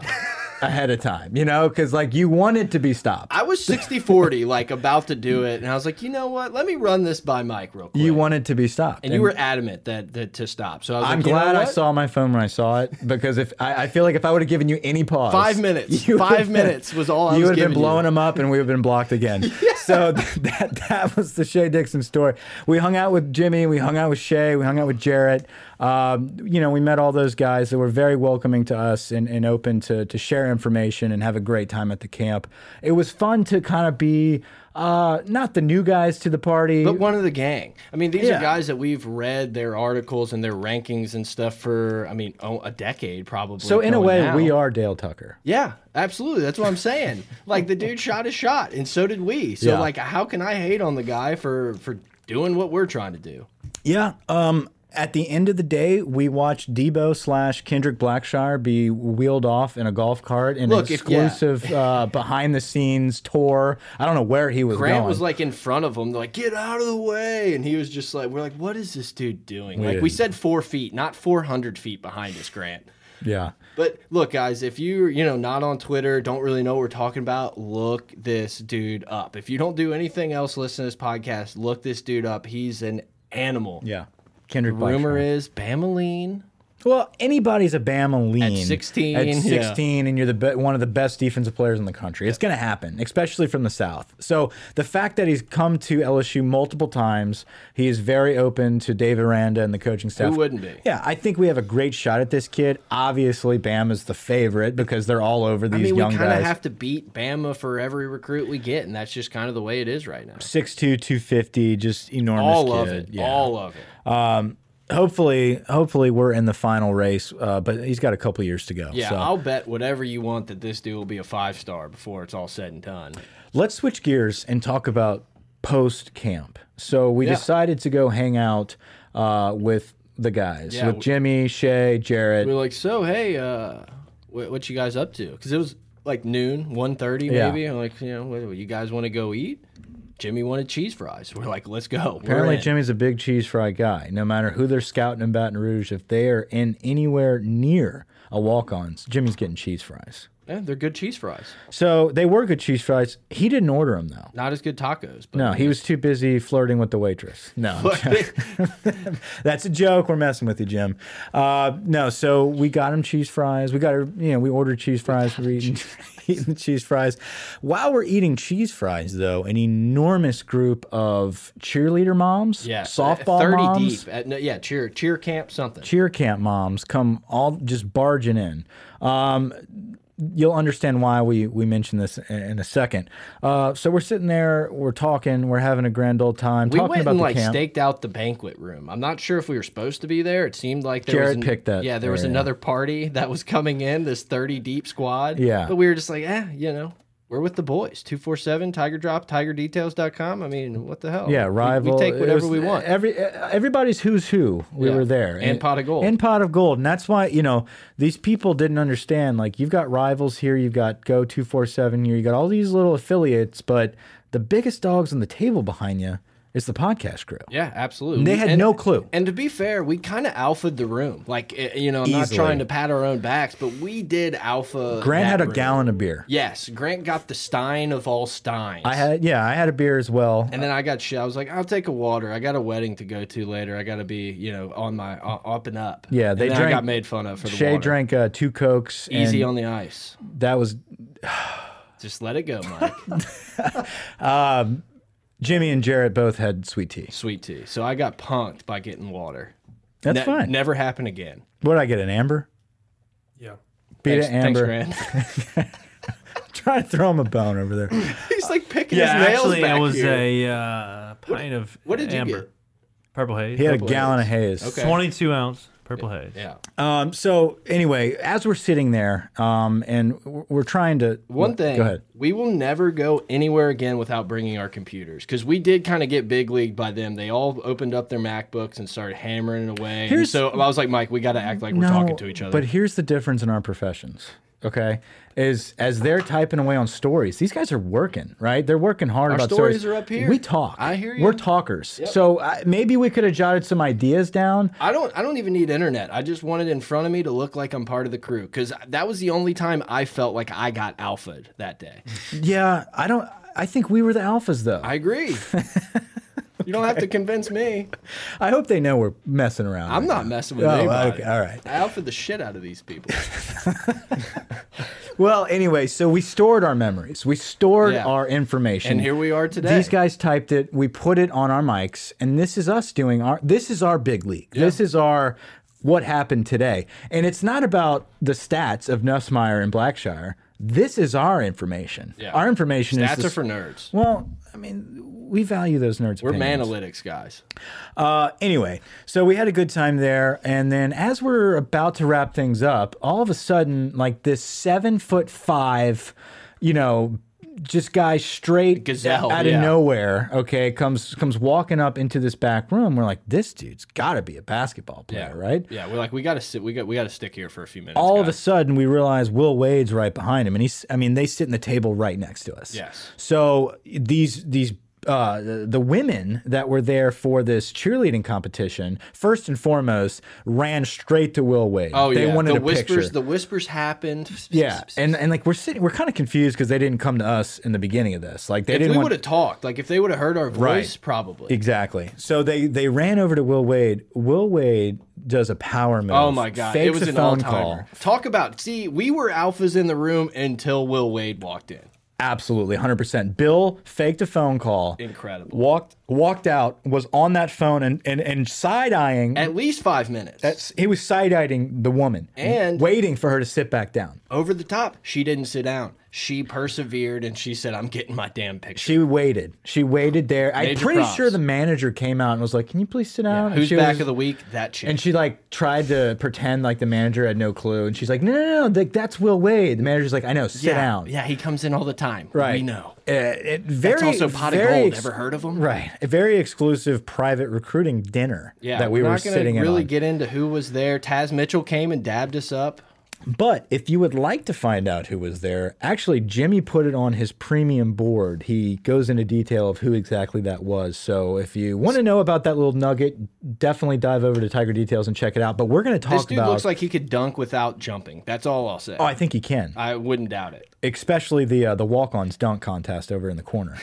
Speaker 1: ahead of time, you know, because like you want it to be stopped.
Speaker 2: I was 60 40, like about to do it, and I was like, you know what? Let me run this by Mike real quick.
Speaker 1: you want it to be stopped.
Speaker 2: and you were adamant that, that to stop. So I was
Speaker 1: I'm
Speaker 2: like, you know
Speaker 1: glad I
Speaker 2: what?
Speaker 1: saw my phone when I saw it because if I, I feel like if I would have given you any pause,
Speaker 2: Five minutes.
Speaker 1: you
Speaker 2: Five
Speaker 1: would've-
Speaker 2: minutes was all I
Speaker 1: you
Speaker 2: was
Speaker 1: would have been
Speaker 2: giving you.
Speaker 1: blowing them up and we would have been blocked again. So th- that that was the Shay Dixon story. We hung out with Jimmy, we hung out with Shay, we hung out with Jarrett. Um, you know, we met all those guys that were very welcoming to us and, and open to, to share information and have a great time at the camp. It was fun to kind of be uh, not the new guys to the party.
Speaker 2: But one of the gang. I mean, these
Speaker 1: Yeah.
Speaker 2: are guys that we've read their articles and their rankings and stuff for, I mean, oh, a decade probably.
Speaker 1: so in a
Speaker 2: going
Speaker 1: way,
Speaker 2: now.
Speaker 1: we are Dale Tucker.
Speaker 2: Yeah, absolutely. That's what I'm saying. like the dude shot his shot, and so did we. So
Speaker 1: Yeah.
Speaker 2: like, how can I hate on the guy for for doing what we're trying to do?
Speaker 1: Yeah. Um, at the end of the day, we watched Debo slash Kendrick Blackshire be wheeled off in a golf cart in
Speaker 2: Look,
Speaker 1: an
Speaker 2: if- yeah.
Speaker 1: exclusive uh, behind the scenes tour. I don't know where he was
Speaker 2: Grant
Speaker 1: going.
Speaker 2: was like in front of him, like get out of the way, and he was just like, we're like, what is this dude doing? like we
Speaker 1: didn't.
Speaker 2: said, four feet, not four hundred feet behind us, Grant.
Speaker 1: yeah.
Speaker 2: But look, guys, if you're you know not on Twitter, don't really know what we're talking about, look this dude up. If you don't do anything else, listen to this podcast. Look this dude up. He's an animal.
Speaker 1: Yeah. Kendrick
Speaker 2: Rumor
Speaker 1: Blackshire.
Speaker 2: is Bamaline
Speaker 1: Well, anybody's a Bama lean
Speaker 2: 16,
Speaker 1: At
Speaker 2: yeah.
Speaker 1: 16, and you're the be- one of the best defensive players in the country. It's going to happen, especially from the South. So the fact that he's come to LSU multiple times, he is very open to Dave Aranda and the coaching staff.
Speaker 2: Who wouldn't be?
Speaker 1: Yeah, I think we have a great shot at this kid. Obviously, Bama's the favorite because they're all over
Speaker 2: I
Speaker 1: these
Speaker 2: mean, we
Speaker 1: young
Speaker 2: kind of
Speaker 1: guys.
Speaker 2: have to beat Bama for every recruit we get, and that's just kind of the way it is right now.
Speaker 1: 6'2", 250, just enormous
Speaker 2: All of
Speaker 1: kid.
Speaker 2: it.
Speaker 1: Yeah.
Speaker 2: All of it.
Speaker 1: hopefully, hopefully we're in the final race, uh, but he's got a couple years to go.
Speaker 2: Yeah,
Speaker 1: so.
Speaker 2: I'll bet whatever you want that this dude will be a five star before it's all said and done.
Speaker 1: Let's switch gears and talk about post camp. So we
Speaker 2: Yeah.
Speaker 1: decided to go hang out uh, with the guys,
Speaker 2: Yeah,
Speaker 1: with
Speaker 2: we-
Speaker 1: Jimmy, Shay, Jarrett.
Speaker 2: We were like, so hey, uh, what, what you guys up to? Because it was like noon, 1.30
Speaker 1: Yeah.
Speaker 2: maybe. I'm like, you know, what, you guys want to go eat? Jimmy wanted cheese fries. We're like, let's go. We're
Speaker 1: Apparently,
Speaker 2: in.
Speaker 1: Jimmy's a big cheese fry guy. No matter who they're scouting in Baton Rouge, if they are in anywhere near a walk ons, Jimmy's getting cheese fries.
Speaker 2: Yeah, they're good cheese fries.
Speaker 1: So they were good cheese fries. He didn't order them, though.
Speaker 2: Not as good tacos, but
Speaker 1: No, he was too busy flirting with the waitress. No, I'm That's a joke. We're messing with you, Jim. Uh, no, so we got him cheese fries. We got her, you know, we ordered cheese fries. We're eating, eating the cheese fries. While we're eating cheese fries, though, an enormous group of cheerleader moms,
Speaker 2: yeah,
Speaker 1: softball
Speaker 2: 30
Speaker 1: moms,
Speaker 2: deep. At, no, yeah, cheer cheer camp something.
Speaker 1: cheer camp moms come all just barging in. Um, you'll understand why we we mention this in, in a second. Uh, so we're sitting there, we're talking, we're having a grand old time,
Speaker 2: We
Speaker 1: talking
Speaker 2: went
Speaker 1: about
Speaker 2: and
Speaker 1: the
Speaker 2: like
Speaker 1: camp.
Speaker 2: staked out the banquet room. I'm not sure if we were supposed to be there. It seemed like there was
Speaker 1: Jared
Speaker 2: an-
Speaker 1: picked that
Speaker 2: Yeah, there was
Speaker 1: area.
Speaker 2: another party that was coming in, this 30 deep squad.
Speaker 1: Yeah.
Speaker 2: But we were just like, eh, you know, we're with the boys. 247 Tiger Drop, tigerdetails.com. I mean, what the hell?
Speaker 1: Yeah,
Speaker 2: We-
Speaker 1: rival.
Speaker 2: We, take
Speaker 1: It
Speaker 2: whatever
Speaker 1: was-
Speaker 2: we want.
Speaker 1: Every everybody's who's who. We
Speaker 2: Yeah.
Speaker 1: were there.
Speaker 2: And pot of gold.
Speaker 1: And pot of gold. And that's why you know these people didn't understand. Like you've got rivals here. You've got Go Two Four Seven here. You got all these little affiliates, but the biggest dogs on the table behind you is the podcast crew.
Speaker 2: Yeah, absolutely.
Speaker 1: They had
Speaker 2: And-
Speaker 1: no clue.
Speaker 2: And to be fair, we kind of alphaed the room. Like, eh, you know, I'm not
Speaker 1: Easily.
Speaker 2: trying to pat our own backs, but we did alpha.
Speaker 1: Grant
Speaker 2: that
Speaker 1: had a
Speaker 2: room.
Speaker 1: gallon of beer.
Speaker 2: Yes, Grant got the Stein of all Steins.
Speaker 1: I had yeah, I had a beer as well.
Speaker 2: And then I got shit. I was like, I'll take a water. I got a wedding to go to later. I got to be, you know, on my uh, up and up.
Speaker 1: Yeah, they
Speaker 2: and then I
Speaker 1: drank-
Speaker 2: got made fun of for the
Speaker 1: Shay
Speaker 2: water.
Speaker 1: drank uh, two cokes.
Speaker 2: easy
Speaker 1: and
Speaker 2: on the ice.
Speaker 1: that was
Speaker 2: Just let it go, Mike.
Speaker 1: Jimmy and Jarrett both had sweet tea.
Speaker 2: Sweet tea. So I got punked by getting water.
Speaker 1: That's
Speaker 2: Ne-
Speaker 1: fine.
Speaker 2: Never happen again.
Speaker 1: What did I get? An amber.
Speaker 3: Yeah.
Speaker 1: Beat
Speaker 2: Thanks,
Speaker 1: an amber.
Speaker 2: thanks, Grant.
Speaker 1: Trying to throw him a bone over there.
Speaker 2: He's like picking
Speaker 3: Yeah,
Speaker 2: his nails
Speaker 3: actually,
Speaker 2: back
Speaker 3: it was
Speaker 2: here.
Speaker 3: a uh, pint of
Speaker 2: what did you
Speaker 3: amber.
Speaker 2: get?
Speaker 3: Purple haze.
Speaker 1: He had a
Speaker 2: Purple
Speaker 1: gallon
Speaker 2: haze.
Speaker 1: of haze.
Speaker 2: Okay.
Speaker 3: Twenty-two ounce purple haze.
Speaker 2: yeah.
Speaker 1: Um, so anyway, as we're sitting there, um, and we're we're trying to
Speaker 2: One thing,
Speaker 1: Go ahead.
Speaker 2: we will never go anywhere again without bringing our computers because we did kind of get big leagued by them. They all opened up their MacBooks and started hammering it away. And
Speaker 1: Here's-
Speaker 2: so I was like, Mike, we got to act like we're talking to each other.
Speaker 1: But here's the difference in our professions. Okay, is as they're typing away on stories, these guys are working, right? They're working hard about
Speaker 2: stories are up here.
Speaker 1: We talk.
Speaker 2: I hear
Speaker 1: We're
Speaker 2: you.
Speaker 1: talkers. So I, maybe we could have jotted some ideas down.
Speaker 2: I don't. I don't even need internet. I just want it in front of me to look like I'm part of the crew. Because that was the only time I felt like I got alphaed that day.
Speaker 1: Yeah, I don't. I think we were the alphas though.
Speaker 2: I agree. you don't have to convince me.
Speaker 1: I hope they know we're messing around.
Speaker 2: I'm
Speaker 1: right
Speaker 2: not
Speaker 1: now.
Speaker 2: messing with
Speaker 1: Oh,
Speaker 2: anybody.
Speaker 1: okay, all right.
Speaker 2: I alpha the shit out of these people.
Speaker 1: Well, anyway, so we stored our memories. We stored
Speaker 2: Yeah.
Speaker 1: our information.
Speaker 2: And here we are today.
Speaker 1: These guys typed it. We put it on our mics, and this is us doing our. This is our big league. This is our what happened today. And it's not about the stats of Nussmeyer and Blackshire. This is our information.
Speaker 2: Yeah.
Speaker 1: Our information is
Speaker 2: That's
Speaker 1: the-
Speaker 2: are for nerds.
Speaker 1: Well, I mean, we value those nerds.
Speaker 2: We're manalytics guys.
Speaker 1: Uh, anyway, so we had a good time there, and then as we're about to wrap things up, all of a sudden, like this seven foot five, you know, just guy straight
Speaker 2: Gazelle,
Speaker 1: out
Speaker 2: yeah.
Speaker 1: of nowhere, okay, comes comes walking up into this back room. We're like, this dude's got to be a basketball player, right?
Speaker 2: Yeah, we're like, we gotta sit. We got. We gotta stick here for a few minutes.
Speaker 1: All of a
Speaker 2: guys.
Speaker 1: sudden, we realize Will Wade's right behind him, and he's—I mean, they sit in the table right next to us.
Speaker 2: Yes.
Speaker 1: So these these uh, the, the women that were there for this cheerleading competition, first and foremost, ran straight to Will Wade.
Speaker 2: Oh
Speaker 1: they
Speaker 2: yeah,
Speaker 1: wanted
Speaker 2: the
Speaker 1: a
Speaker 2: whispers.
Speaker 1: picture.
Speaker 2: The whispers happened.
Speaker 1: yeah, and and like we're sitting, we're kind of confused because they didn't come to us in the beginning of this. Like they
Speaker 2: if
Speaker 1: didn't
Speaker 2: we
Speaker 1: want
Speaker 2: would have talked, like if they would have heard our voice,
Speaker 1: Right.
Speaker 2: probably.
Speaker 1: Exactly. So they they ran over to Will Wade. Will Wade does a power move.
Speaker 2: Oh my god,
Speaker 1: fakes
Speaker 2: it was
Speaker 1: a
Speaker 2: an all
Speaker 1: phone
Speaker 2: timer.
Speaker 1: call.
Speaker 2: Talk about see, we were alphas in the room until Will Wade walked in.
Speaker 1: Absolutely, hundred percent. Bill faked a phone call.
Speaker 2: Incredible.
Speaker 1: Walked walked out. Was on that phone and and, and side eyeing.
Speaker 2: At least five minutes.
Speaker 1: He was side eyeing the woman
Speaker 2: And-
Speaker 1: waiting for her to sit back down.
Speaker 2: Over the top, she didn't sit down. She persevered and she said, "I'm getting my damn picture."
Speaker 1: She waited. She waited there. I'm
Speaker 2: Major
Speaker 1: pretty
Speaker 2: props.
Speaker 1: sure the manager came out and was like, "Can you please sit down?" And
Speaker 2: Who's
Speaker 1: she
Speaker 2: back
Speaker 1: was-
Speaker 2: of the week? That chick.
Speaker 1: And she like tried to pretend like the manager had no clue, and she's like, "No, no, no, like, that's Will Wade." The manager's like, "I know, sit
Speaker 2: yeah,
Speaker 1: down."
Speaker 2: Yeah, he comes in all the time.
Speaker 1: Right.
Speaker 2: We know.
Speaker 1: Uh, it very
Speaker 2: It's also pot of
Speaker 1: very
Speaker 2: gold.
Speaker 1: ex-
Speaker 2: Ever heard of him?
Speaker 1: Right. A very exclusive private recruiting dinner
Speaker 2: Yeah,
Speaker 1: that we
Speaker 2: we're
Speaker 1: were
Speaker 2: not gonna
Speaker 1: sitting in
Speaker 2: really
Speaker 1: on.
Speaker 2: get into who was there. Taz Mitchell came and dabbed us up.
Speaker 1: But if you would like to find out who was there, actually Jimmy put it on his premium board. He goes into detail of who exactly that was. So if you want to know about that little nugget, definitely dive over to Tiger Details and check it out. But we're going to talk
Speaker 2: This dude
Speaker 1: about
Speaker 2: looks like he could dunk without jumping. That's all I'll say.
Speaker 1: Oh, I think he can.
Speaker 2: I wouldn't doubt it.
Speaker 1: Especially the uh, the walk-ons dunk contest over in the corner.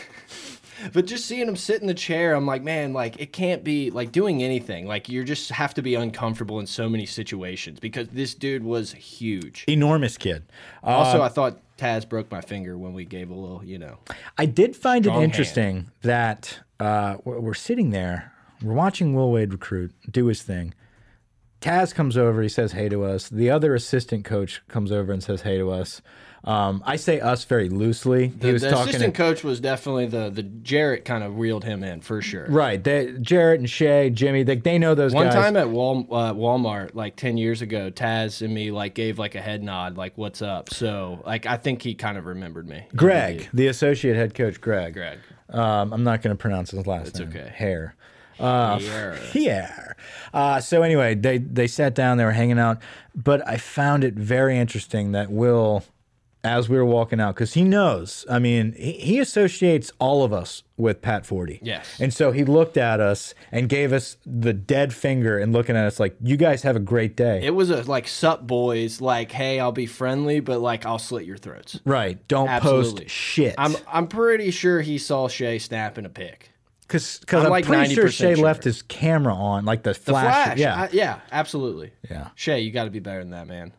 Speaker 2: But just seeing him sit in the chair, I'm like, man, like it can't be like doing anything. Like you just have to be uncomfortable in so many situations because this dude was huge.
Speaker 1: Enormous kid.
Speaker 2: Also,
Speaker 1: uh,
Speaker 2: I thought Taz broke my finger when we gave a little, you know.
Speaker 1: I did find it
Speaker 2: Strong hand.
Speaker 1: interesting that uh, we're, we're sitting there, we're watching Will Wade recruit, do his thing. Taz comes over, he says hey to us. The other assistant coach comes over and says hey to us. Um, I say us very loosely. he was
Speaker 2: the
Speaker 1: talking
Speaker 2: assistant
Speaker 1: to,
Speaker 2: coach was definitely the the Jarrett kind of reeled him in for sure.
Speaker 1: right. They, Jarrett and Shay, Jimmy, they, they know those
Speaker 2: One
Speaker 1: guys.
Speaker 2: time at Wal uh, Walmart, like ten years ago, Taz and me like gave like a head nod, like "What's up?" So like I think he kind of remembered me.
Speaker 1: Greg, the associate head coach, Greg.
Speaker 2: Greg.
Speaker 1: Um, I'm not going to pronounce his last name.
Speaker 2: okay.
Speaker 1: Hair.
Speaker 2: Yeah.
Speaker 1: Yeah. Uh, so anyway, they they sat down, they were hanging out, but I found it very interesting that Will, as we were walking out, because he knows. I mean, he, he associates all of us with Pat Forty.
Speaker 2: Yes.
Speaker 1: And so he looked at us and gave us the dead finger and looking at us like, "You guys have a great day."
Speaker 2: It was a like sup boys, like hey, I'll be friendly, but like I'll slit your throats.
Speaker 1: right. Don't
Speaker 2: Absolutely.
Speaker 1: post shit.
Speaker 2: I'm I'm pretty sure he saw Shay snapping a pic.
Speaker 1: because I'm,
Speaker 2: I'm like
Speaker 1: pretty sure
Speaker 2: 90%
Speaker 1: Shay
Speaker 2: sure.
Speaker 1: left his camera on, like the, flash.
Speaker 2: Flash.
Speaker 1: Yeah.
Speaker 2: I- yeah, absolutely.
Speaker 1: Yeah.
Speaker 2: Shay, you got to be better than that, man.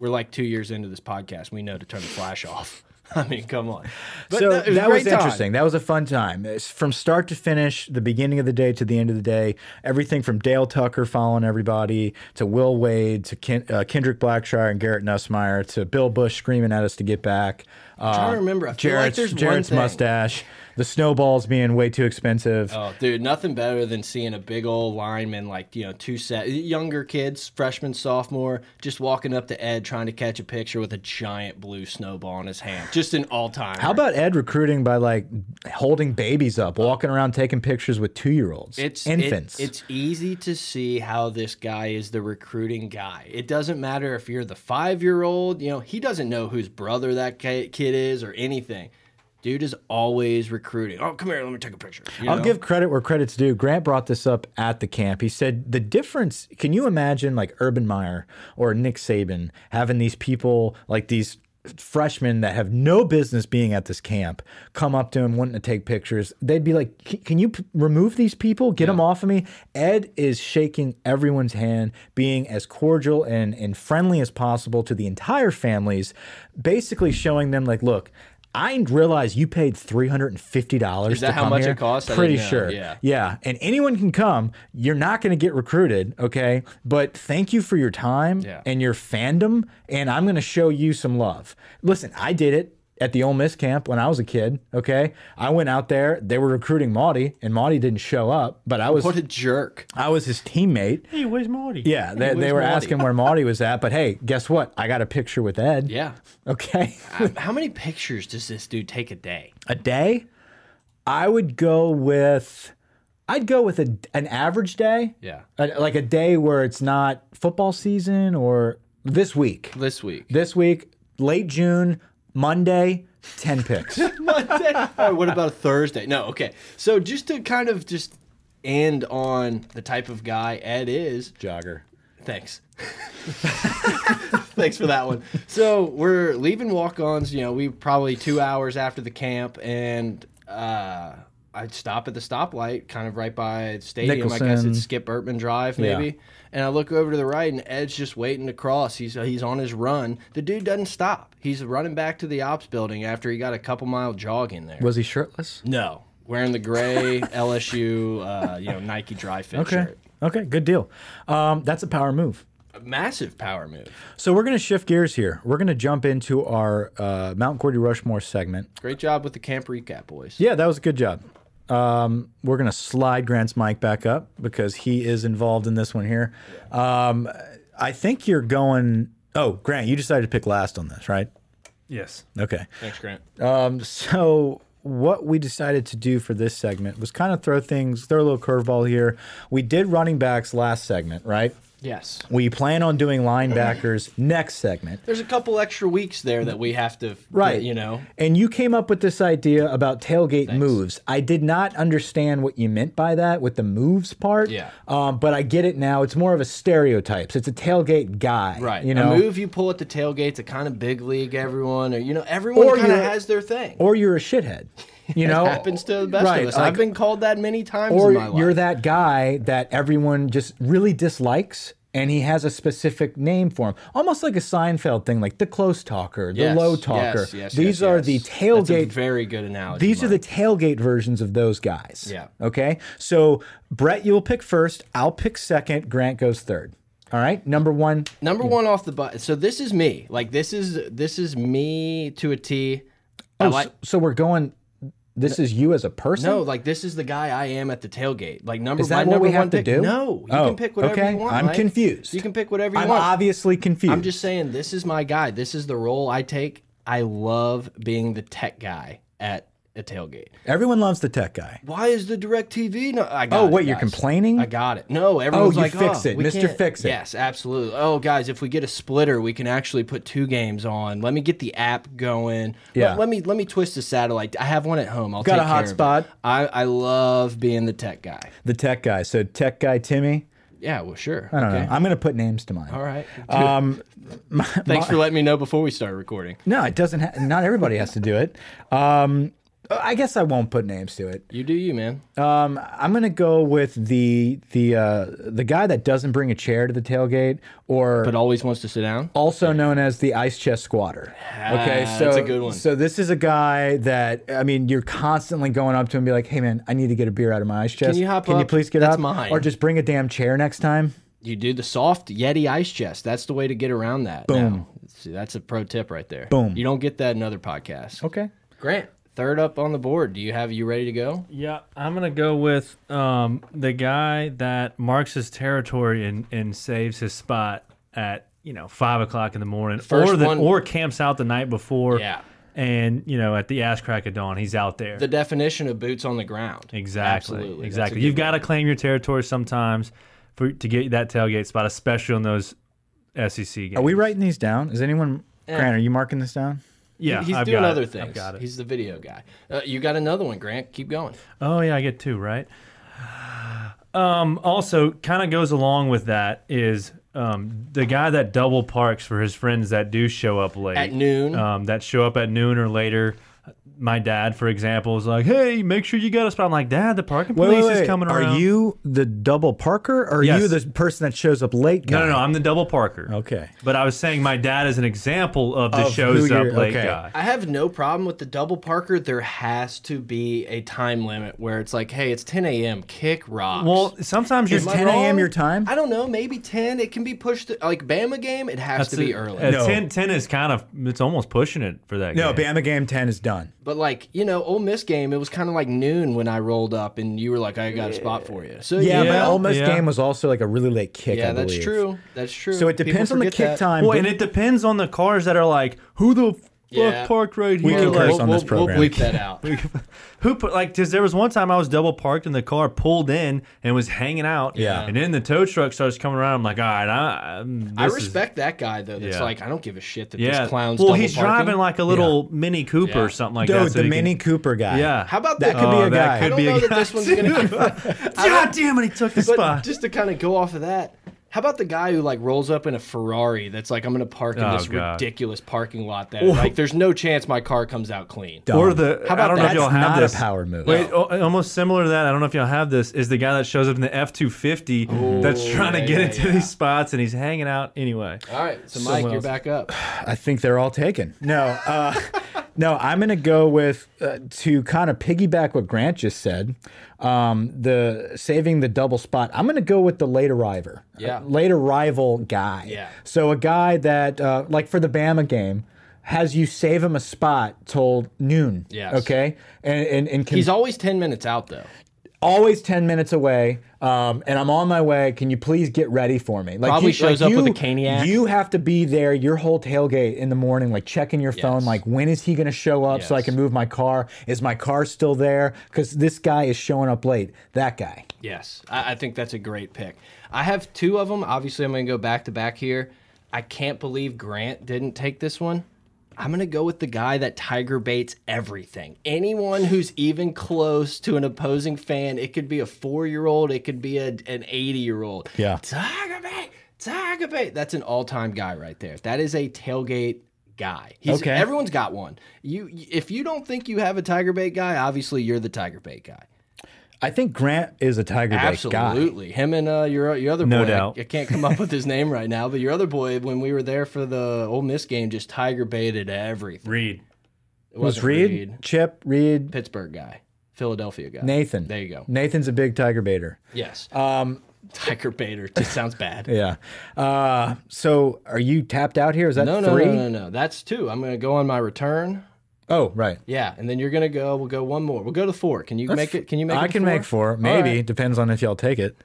Speaker 2: We're like two years into this podcast. We know to turn the flash off. I mean, come on. But
Speaker 1: so
Speaker 2: no, it was a
Speaker 1: that was
Speaker 2: great time.
Speaker 1: interesting. That was a fun time. It's from start to finish, the beginning of the day to the end of the day, everything from Dale Tucker following everybody to Will Wade to Ken, uh, Kendrick Blackshire and Garrett Nussmeyer to Bill Bush screaming at us to get back. Uh,
Speaker 2: trying to remember. I feel like
Speaker 1: Jarrett's,
Speaker 2: there's one
Speaker 1: Jarrett's
Speaker 2: thing.
Speaker 1: mustache, the snowballs being way too expensive.
Speaker 2: Oh, dude, nothing better than seeing a big old lineman, like, you know, two set younger kids, freshman, sophomore, just walking up to Ed trying to catch a picture with a giant blue snowball in his hand. Just an all time.
Speaker 1: How about Ed recruiting by like holding babies up, walking around taking pictures with two year olds,
Speaker 2: it's it-
Speaker 1: infants?
Speaker 2: it's easy to see how this guy is the recruiting guy. It doesn't matter if you're the five year old. You know, he doesn't know whose brother that ki- kid is or anything. Dude is always recruiting. Oh, come here, let me take a picture. you
Speaker 1: I'll
Speaker 2: know?
Speaker 1: give credit where credit's due. Grant brought this up at the camp. He said the difference. Can you imagine like Urban Meyer or Nick Saban having these people like these freshmen that have no business being at this camp come up to him wanting to take pictures? They'd be like, "C- "Can you p remove these people? Get them off of me." Ed is shaking everyone's hand, being as cordial and and friendly as possible to the entire families, basically showing them like, "Look." I realize you paid three hundred and fifty dollars. Is
Speaker 2: that how much it costs? I
Speaker 1: Pretty
Speaker 2: didn't know.
Speaker 1: sure.
Speaker 2: Yeah.
Speaker 1: Yeah. And anyone can come. You're not going to get recruited. Okay. But thank you for your time
Speaker 2: Yeah.
Speaker 1: and your fandom. And I'm going to show you some love. Listen, I did it at the Ole Miss camp when I was a kid. Okay. I went out there. They were recruiting Maudie, and Maudie didn't show up, but I was
Speaker 2: What a jerk.
Speaker 1: I was his teammate.
Speaker 3: Hey, where's Marty?
Speaker 1: Yeah. They, they
Speaker 2: where's
Speaker 1: were
Speaker 2: Maudie?
Speaker 1: asking where Maudie was at. But hey, guess what? I got a picture with Ed.
Speaker 2: Yeah.
Speaker 1: Okay.
Speaker 2: how many pictures does this dude take a day?
Speaker 1: a day i would go with i'd go with a, an average day
Speaker 2: Yeah.
Speaker 1: A- like a day where it's not football season or this week
Speaker 2: This week.
Speaker 1: this week late june monday Ten picks.
Speaker 2: Monday. All right, what about a Thursday? No, okay. So just to kind of just end on the type of guy Ed is.
Speaker 1: Jogger.
Speaker 2: Thanks. Thanks for that one. So we're leaving walk-ons. You know, we probably two hours after the camp, and uh, I'd stop at the stoplight, kind of right by the stadium. I guess
Speaker 1: Nicholson.
Speaker 2: it's Skip Burtman Drive, maybe. And I look over to the right, and Ed's just waiting to cross. He's uh, he's on his run. The dude doesn't stop. He's running back to the ops building after he got a couple mile jog in there.
Speaker 1: Was he shirtless?
Speaker 2: No, wearing the gray LSU, uh, you know, Nike dry fit
Speaker 1: Okay.
Speaker 2: shirt.
Speaker 1: Okay. Good deal. Um, that's a power move.
Speaker 2: A massive power move.
Speaker 1: So we're going to shift gears here. We're going to jump into our uh, Mount Cordy Rushmore segment.
Speaker 2: Great job with the camp recap, boys.
Speaker 1: Yeah, that was a good job. Um, we're gonna slide Grant's mic back up because he is involved in this one here. Um, I think you're going. Oh, Grant, you decided to pick last on this, right?
Speaker 3: Yes.
Speaker 1: Okay.
Speaker 2: Thanks, Grant.
Speaker 1: Um, so what we decided to do for this segment was kind of throw things, throw a little curveball here. We did running backs last segment, right?
Speaker 2: Yes.
Speaker 1: We plan on doing linebackers next segment.
Speaker 2: There's a couple extra weeks there that we have to,
Speaker 1: Right.
Speaker 2: You know,
Speaker 1: And you came up with this idea about tailgate moves. I did not understand what you meant by that with the moves part.
Speaker 2: Yeah.
Speaker 1: Um, but I get it now. It's more of a stereotypes. It's a tailgate guy.
Speaker 2: right?
Speaker 1: You know.
Speaker 2: a move you pull at the tailgates, a kind of big league everyone, or you know, everyone kind of
Speaker 1: you're-
Speaker 2: has their thing.
Speaker 1: Or you're a shithead. You know.
Speaker 2: happens to the best
Speaker 1: right,
Speaker 2: of us.
Speaker 1: like-
Speaker 2: I've been called that many times
Speaker 1: Or
Speaker 2: in my life.
Speaker 1: you're that guy that everyone just really dislikes. And he has a specific name for him, almost like a Seinfeld thing, like the close talker, the
Speaker 2: Yes,
Speaker 1: low talker.
Speaker 2: Yes, yes,
Speaker 1: These
Speaker 2: yes,
Speaker 1: are
Speaker 2: yes.
Speaker 1: the
Speaker 2: That's a
Speaker 1: tailgate
Speaker 2: very good analogy.
Speaker 1: These are the
Speaker 2: Mike.
Speaker 1: tailgate versions of those guys.
Speaker 2: Yeah.
Speaker 1: Okay. So Brett, you'll pick first. I'll pick second. Grant goes third. All right. Number one.
Speaker 2: number one off the butt. So this is me. Like this is this is me to a T. I
Speaker 1: Oh,
Speaker 2: like.
Speaker 1: so, so we're going. This is you as a person.
Speaker 2: No, like this is the guy I am at the tailgate. Like
Speaker 1: Oh.
Speaker 2: number
Speaker 1: Is that
Speaker 2: my
Speaker 1: what
Speaker 2: number
Speaker 1: we have
Speaker 2: one
Speaker 1: to
Speaker 2: pick.
Speaker 1: do?
Speaker 2: No, you
Speaker 1: Oh,
Speaker 2: can pick whatever
Speaker 1: okay.
Speaker 2: you want.
Speaker 1: I'm
Speaker 2: Mike.
Speaker 1: confused.
Speaker 2: You can pick whatever you
Speaker 1: I'm
Speaker 2: want.
Speaker 1: obviously confused.
Speaker 2: I'm just saying this is my guy. This is the role I take. I love being the tech guy at a tailgate.
Speaker 1: Everyone loves the tech guy.
Speaker 2: Why is the direct TV no I got
Speaker 1: Oh,
Speaker 2: it,
Speaker 1: wait, you're
Speaker 2: guys.
Speaker 1: complaining?
Speaker 2: I got it. No, everyone's
Speaker 1: you
Speaker 2: like,
Speaker 1: fix
Speaker 2: oh,
Speaker 1: it,
Speaker 2: we
Speaker 1: Mr.
Speaker 2: can't."
Speaker 1: Fix It.
Speaker 2: Yes, absolutely. Oh guys, if we get a splitter, we can actually put two games on. Let me get the app going.
Speaker 1: Yeah.
Speaker 2: Let, let me let me twist the satellite. I have one at home. I'll
Speaker 1: Got
Speaker 2: take
Speaker 1: a
Speaker 2: care of
Speaker 1: hotspot?
Speaker 2: it. I, I love being the tech guy.
Speaker 1: The tech guy. So tech guy Timmy.
Speaker 2: Yeah, well sure.
Speaker 1: I don't
Speaker 2: okay.
Speaker 1: know. I'm gonna put names to mine.
Speaker 2: All right.
Speaker 1: Um,
Speaker 2: Thanks for letting me know before we start recording.
Speaker 1: no, it doesn't. Ha- not everybody has to do it. Um, I guess I won't put names to it.
Speaker 2: You do you, man.
Speaker 1: Um, I'm gonna go with the the uh, the guy that doesn't bring a chair to the tailgate, or
Speaker 2: But always wants to sit down.
Speaker 1: also known as the ice chest squatter. Okay,
Speaker 2: Ah,
Speaker 1: so
Speaker 2: that's a good one.
Speaker 1: So this is a guy that I mean, you're constantly going up to him and be like, "Hey, man, I need to get a beer out of my ice chest.
Speaker 2: you hop
Speaker 1: Can you
Speaker 2: up?
Speaker 1: please get
Speaker 2: That's
Speaker 1: up?
Speaker 2: mine."
Speaker 1: Or just bring a damn chair next time."
Speaker 2: You do the soft Yeti ice chest. That's the way to get around that. Boom. See, that's a pro tip right there.
Speaker 1: Boom.
Speaker 2: You don't get that in other
Speaker 3: Oh.
Speaker 2: podcasts.
Speaker 1: Okay.
Speaker 2: Grant, third up on the board. Do you have you ready to go?
Speaker 3: Yeah, I'm gonna go with um, the guy that marks his territory and, and saves his spot at you know five o'clock in the morning,
Speaker 2: First
Speaker 3: or the,
Speaker 2: one-
Speaker 3: or camps out the night before.
Speaker 2: Yeah.
Speaker 3: and you know at the ass crack of dawn, he's out there.
Speaker 2: The definition of boots on the ground.
Speaker 3: exactly,
Speaker 2: Absolutely. That's a
Speaker 3: exactly.
Speaker 2: good
Speaker 3: You've
Speaker 2: one.
Speaker 3: got to claim your territory sometimes for to get that tailgate spot, especially in those SEC games.
Speaker 1: Are we writing these down? Is anyone?
Speaker 2: Eh.
Speaker 1: Grant, are you marking this down?
Speaker 3: Yeah,
Speaker 2: He's
Speaker 3: I've
Speaker 2: doing
Speaker 3: got it.
Speaker 2: other
Speaker 3: I've
Speaker 2: things.
Speaker 3: got it.
Speaker 2: He's the video guy. Uh, you got another one, Grant. Keep going.
Speaker 3: Oh yeah, I get two, right? Um, also, kind of goes along with that is um, the guy that double parks for his friends that do show up late
Speaker 2: At noon.
Speaker 3: Um, that show up at noon or later. My dad, for example, is like, "Hey, make sure you got a spot." I'm like, "Dad, the parking police is coming
Speaker 1: Are
Speaker 3: around."
Speaker 1: you the double Parker? Or are
Speaker 3: Yes.
Speaker 1: you the person that shows up late? Guy?
Speaker 3: No, no, no. I'm the double parker.
Speaker 1: Okay.
Speaker 3: But I was saying my dad is an example of the
Speaker 1: Of who
Speaker 3: shows up
Speaker 1: you're-
Speaker 3: late
Speaker 1: okay.
Speaker 3: guy.
Speaker 2: I have no problem with the double parker. There has to be a time limit where it's like, hey, it's 10 a.m. Kick rocks.
Speaker 3: Well, sometimes you're
Speaker 1: Is 10 a.m. your time?
Speaker 2: I don't know, maybe 10. It can be pushed to, like Bama game, it has to be early.
Speaker 3: Uh,
Speaker 1: No.
Speaker 3: 10, 10 is kind of it's almost pushing it for that.
Speaker 1: No,
Speaker 3: game.
Speaker 1: Bama game ten is done.
Speaker 2: but like, you know, Ole Miss game, it was kind of like noon when I rolled up and you were like, I got a spot for you. So
Speaker 1: Yeah,
Speaker 2: you
Speaker 1: but
Speaker 2: know,
Speaker 1: Ole Miss
Speaker 3: yeah.
Speaker 1: game was also like a really late kick.
Speaker 2: Yeah,
Speaker 1: I
Speaker 2: that's
Speaker 1: believe.
Speaker 2: true. That's true.
Speaker 1: So it depends
Speaker 2: People
Speaker 1: on the
Speaker 2: forget
Speaker 1: kick
Speaker 2: that.
Speaker 1: time.
Speaker 3: Well,
Speaker 1: but-
Speaker 3: and it depends on the cars that are like, who the
Speaker 2: Yeah.
Speaker 3: look, parked right
Speaker 1: We
Speaker 3: here.
Speaker 1: can
Speaker 3: like,
Speaker 1: curse on this
Speaker 2: we'll,
Speaker 1: program.
Speaker 2: We'll bleep that out.
Speaker 3: who put like because there was one time I was double parked and the car pulled in and was hanging out.
Speaker 1: Yeah.
Speaker 3: And then the tow truck starts coming around. I'm like, all right, I, I'm-
Speaker 2: I
Speaker 3: this is-
Speaker 2: respect that guy though. That's
Speaker 3: Yeah.
Speaker 2: like I don't give a shit that
Speaker 3: yeah.
Speaker 2: this clown's.
Speaker 3: well,
Speaker 2: double
Speaker 3: he's
Speaker 2: parking.
Speaker 3: driving like a little Mini Cooper
Speaker 2: Yeah.
Speaker 3: or something like that.
Speaker 1: Dude,
Speaker 3: so
Speaker 1: the
Speaker 3: he can-
Speaker 1: Mini Cooper guy.
Speaker 3: yeah.
Speaker 2: How about
Speaker 1: That
Speaker 2: that?
Speaker 1: could be
Speaker 3: Oh,
Speaker 1: a
Speaker 3: that
Speaker 1: guy.
Speaker 2: I
Speaker 3: could
Speaker 2: don't
Speaker 3: be a
Speaker 2: know that
Speaker 3: guy,
Speaker 2: this one's gonna.
Speaker 3: God damn it, he took the
Speaker 2: But
Speaker 3: spot.
Speaker 2: just to kind of go off of that, how about the guy who like rolls up in a Ferrari that's like I'm gonna park in
Speaker 3: Oh,
Speaker 2: this
Speaker 3: God.
Speaker 2: ridiculous parking lot that like there's no chance my car comes out clean.
Speaker 1: Dumb.
Speaker 3: or the
Speaker 2: How about
Speaker 3: I don't know if
Speaker 1: That's
Speaker 3: y'all have
Speaker 1: not
Speaker 3: this.
Speaker 1: a power move.
Speaker 3: Wait, o- almost similar to that. I don't know if y'all have this. Is the guy that shows up in the F two fifty that's trying
Speaker 2: yeah,
Speaker 3: to get
Speaker 2: yeah,
Speaker 3: into
Speaker 2: yeah.
Speaker 3: these spots and he's hanging out anyway.
Speaker 2: All right, so
Speaker 3: Someone
Speaker 2: Mike, you're
Speaker 3: else.
Speaker 2: back up.
Speaker 1: I think they're all taken. No, uh, no, I'm going to go with uh, to kind of piggyback what Grant just said. Um, the saving the double spot. I'm going to go with the late arriver.
Speaker 2: Yeah.
Speaker 1: Uh, late arrival guy.
Speaker 2: Yeah.
Speaker 1: So a guy that uh, like for the Bama game has you save him a spot till noon.
Speaker 2: Yes.
Speaker 1: Okay. And and, and can
Speaker 2: He's always ten minutes out though.
Speaker 1: always 10 minutes away um, and i'm on my way can you please get ready for me like
Speaker 2: Probably shows up with a caniac.
Speaker 1: you have to be there your whole tailgate in the morning like checking your phone
Speaker 2: Yes.
Speaker 1: like when is he going to show up so i
Speaker 2: Yes.
Speaker 1: can move my car is my car still there because this guy is showing up late that guy
Speaker 2: Yes, I, I think that's a great pick. I have two of them. Obviously, I'm going to go back to back here. I can't believe Grant didn't take this one. I'm going to go with the guy that Tiger baits everything. Anyone who's even close to an opposing fan, it could be a four year old, it could be a, an 80 year old.
Speaker 1: Yeah.
Speaker 2: Tiger bait, Tiger bait. That's an all time guy right there. That is a tailgate guy. He's,
Speaker 1: Okay.
Speaker 2: Everyone's got one. You, If you don't think you have a Tiger bait guy, obviously you're the Tiger bait guy.
Speaker 1: i think grant is a tiger Bait guy
Speaker 2: Absolutely. Him and uh, your your other
Speaker 3: No
Speaker 2: boy. I-
Speaker 3: doubt.
Speaker 2: I, can't come up with his name right now, but your other boy when we were there for the Ole Miss game just tiger baited everything.
Speaker 3: Reed.
Speaker 2: It
Speaker 1: was
Speaker 2: wasn't
Speaker 1: reed,
Speaker 2: Reed.
Speaker 1: chip reed
Speaker 2: Pittsburgh guy, Philadelphia guy.
Speaker 1: nathan
Speaker 2: There you go.
Speaker 1: nathan's a big tiger baiter
Speaker 2: Yes. Um, tiger baiter just sounds bad.
Speaker 1: yeah uh, so are you tapped out here is that
Speaker 2: No, no,
Speaker 1: three?
Speaker 2: no, no, no. That's two. I'm gonna go on my return.
Speaker 1: oh right
Speaker 2: Yeah, and then you're gonna go. We'll go one more. We'll go to four. Can you make it? Can you make?
Speaker 1: i
Speaker 2: it to
Speaker 1: can make four maybe depends on if y'all take it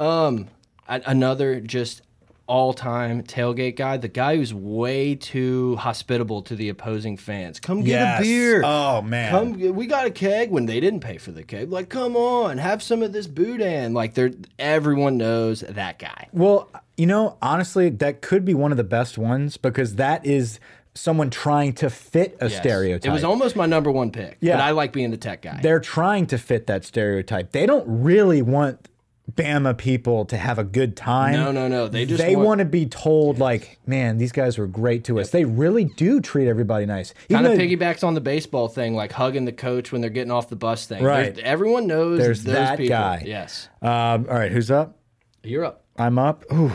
Speaker 2: Um, a- another just all-time tailgate guy, the guy who's way too hospitable to the opposing fans. Come get a beer.
Speaker 1: Oh man.
Speaker 2: Come, get- we got a keg when they didn't pay for the keg. Like, come on, have some of this boudin. Like, they're everyone knows that guy.
Speaker 1: well, you know, honestly, that could be one of the best ones because that is someone trying to fit a
Speaker 2: Yes.
Speaker 1: stereotype.
Speaker 2: It was almost my number one pick.
Speaker 1: Yeah.
Speaker 2: but I like being the tech guy.
Speaker 1: They're trying to fit that stereotype. They don't really want Bama people to have a good time.
Speaker 2: no, no, no. They just
Speaker 1: they
Speaker 2: want,
Speaker 1: want to be told, like, man, these guys were great to us. They really do treat everybody nice. Even
Speaker 2: kind of
Speaker 1: though-
Speaker 2: piggybacks on the baseball thing, like hugging the coach when they're getting off the bus thing.
Speaker 1: Right.
Speaker 2: There's- everyone knows
Speaker 1: There's
Speaker 2: those
Speaker 1: that
Speaker 2: people.
Speaker 1: guy.
Speaker 2: Yes,
Speaker 1: Um, all right, who's up?
Speaker 2: you're up.
Speaker 1: I'm up. Ooh,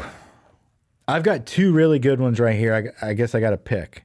Speaker 1: I've got two really good ones right here. I, I guess I got to pick.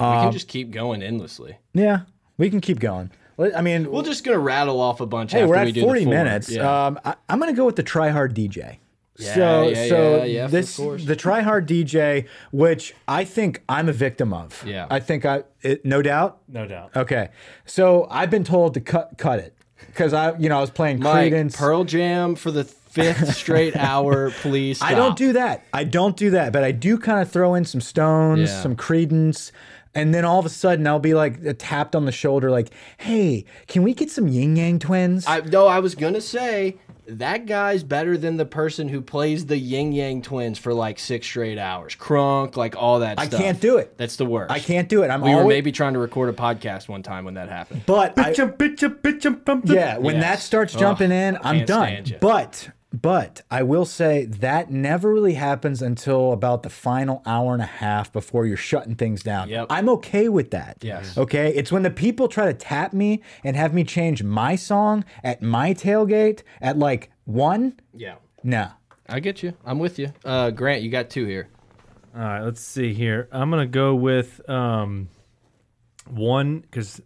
Speaker 2: we
Speaker 1: Um,
Speaker 2: can just keep going endlessly.
Speaker 1: Yeah, we can keep going. Let- I mean,
Speaker 2: We're just gonna rattle off a bunch.
Speaker 1: Hey,
Speaker 2: after
Speaker 1: we're at
Speaker 2: we do the
Speaker 1: 40
Speaker 2: four.
Speaker 1: minutes.
Speaker 2: Yeah.
Speaker 1: Um, I, I'm going to go with the Try Hard DJ.
Speaker 2: Yeah,
Speaker 1: so,
Speaker 2: yeah,
Speaker 1: so
Speaker 2: yeah, yeah, of
Speaker 1: this
Speaker 2: course.
Speaker 1: the Try Hard DJ, which I think I'm a victim of.
Speaker 2: Yeah.
Speaker 1: I think I, it, no doubt.
Speaker 3: No doubt.
Speaker 1: Okay, so I've been told to cut cut it because I, you know, I was playing
Speaker 2: Mike,
Speaker 1: Credence.
Speaker 2: Pearl Jam for the fifth straight hour. Please,
Speaker 1: I don't
Speaker 2: stop.
Speaker 1: do that. I don't do that, but I do kind of throw in some stones,
Speaker 2: Yeah.
Speaker 1: some credence, and then all of a sudden I'll be like tapped on the shoulder, like, "Hey, can we get some Yin Yang Twins?"
Speaker 2: I, no, I was gonna say that guy's better than the person who plays the Yin Yang Twins for like six straight hours. Crunk, like all that.
Speaker 1: I
Speaker 2: stuff.
Speaker 1: can't do it.
Speaker 2: That's the worst.
Speaker 1: I can't do it. I'm
Speaker 2: We
Speaker 1: always,
Speaker 2: were maybe trying to record a podcast one time when that happened.
Speaker 1: but I,
Speaker 3: Bitcha, bitcha, bitcha, bum, bum.
Speaker 1: Yeah, when that
Speaker 2: Yes.
Speaker 1: starts jumping in, I'm
Speaker 2: can't
Speaker 1: done.
Speaker 2: stand ya.
Speaker 1: But but I will say that never really happens until about the final hour and a half before you're shutting things down.
Speaker 2: Yep.
Speaker 1: I'm okay with that.
Speaker 2: Yes.
Speaker 1: Okay. It's when the people try to tap me and have me change my song at my tailgate at like one.
Speaker 2: Yeah,
Speaker 1: No.
Speaker 2: I get you. I'm with you. Uh, Grant, you got two here.
Speaker 3: All right, let's see here. I'm gonna go with um, one because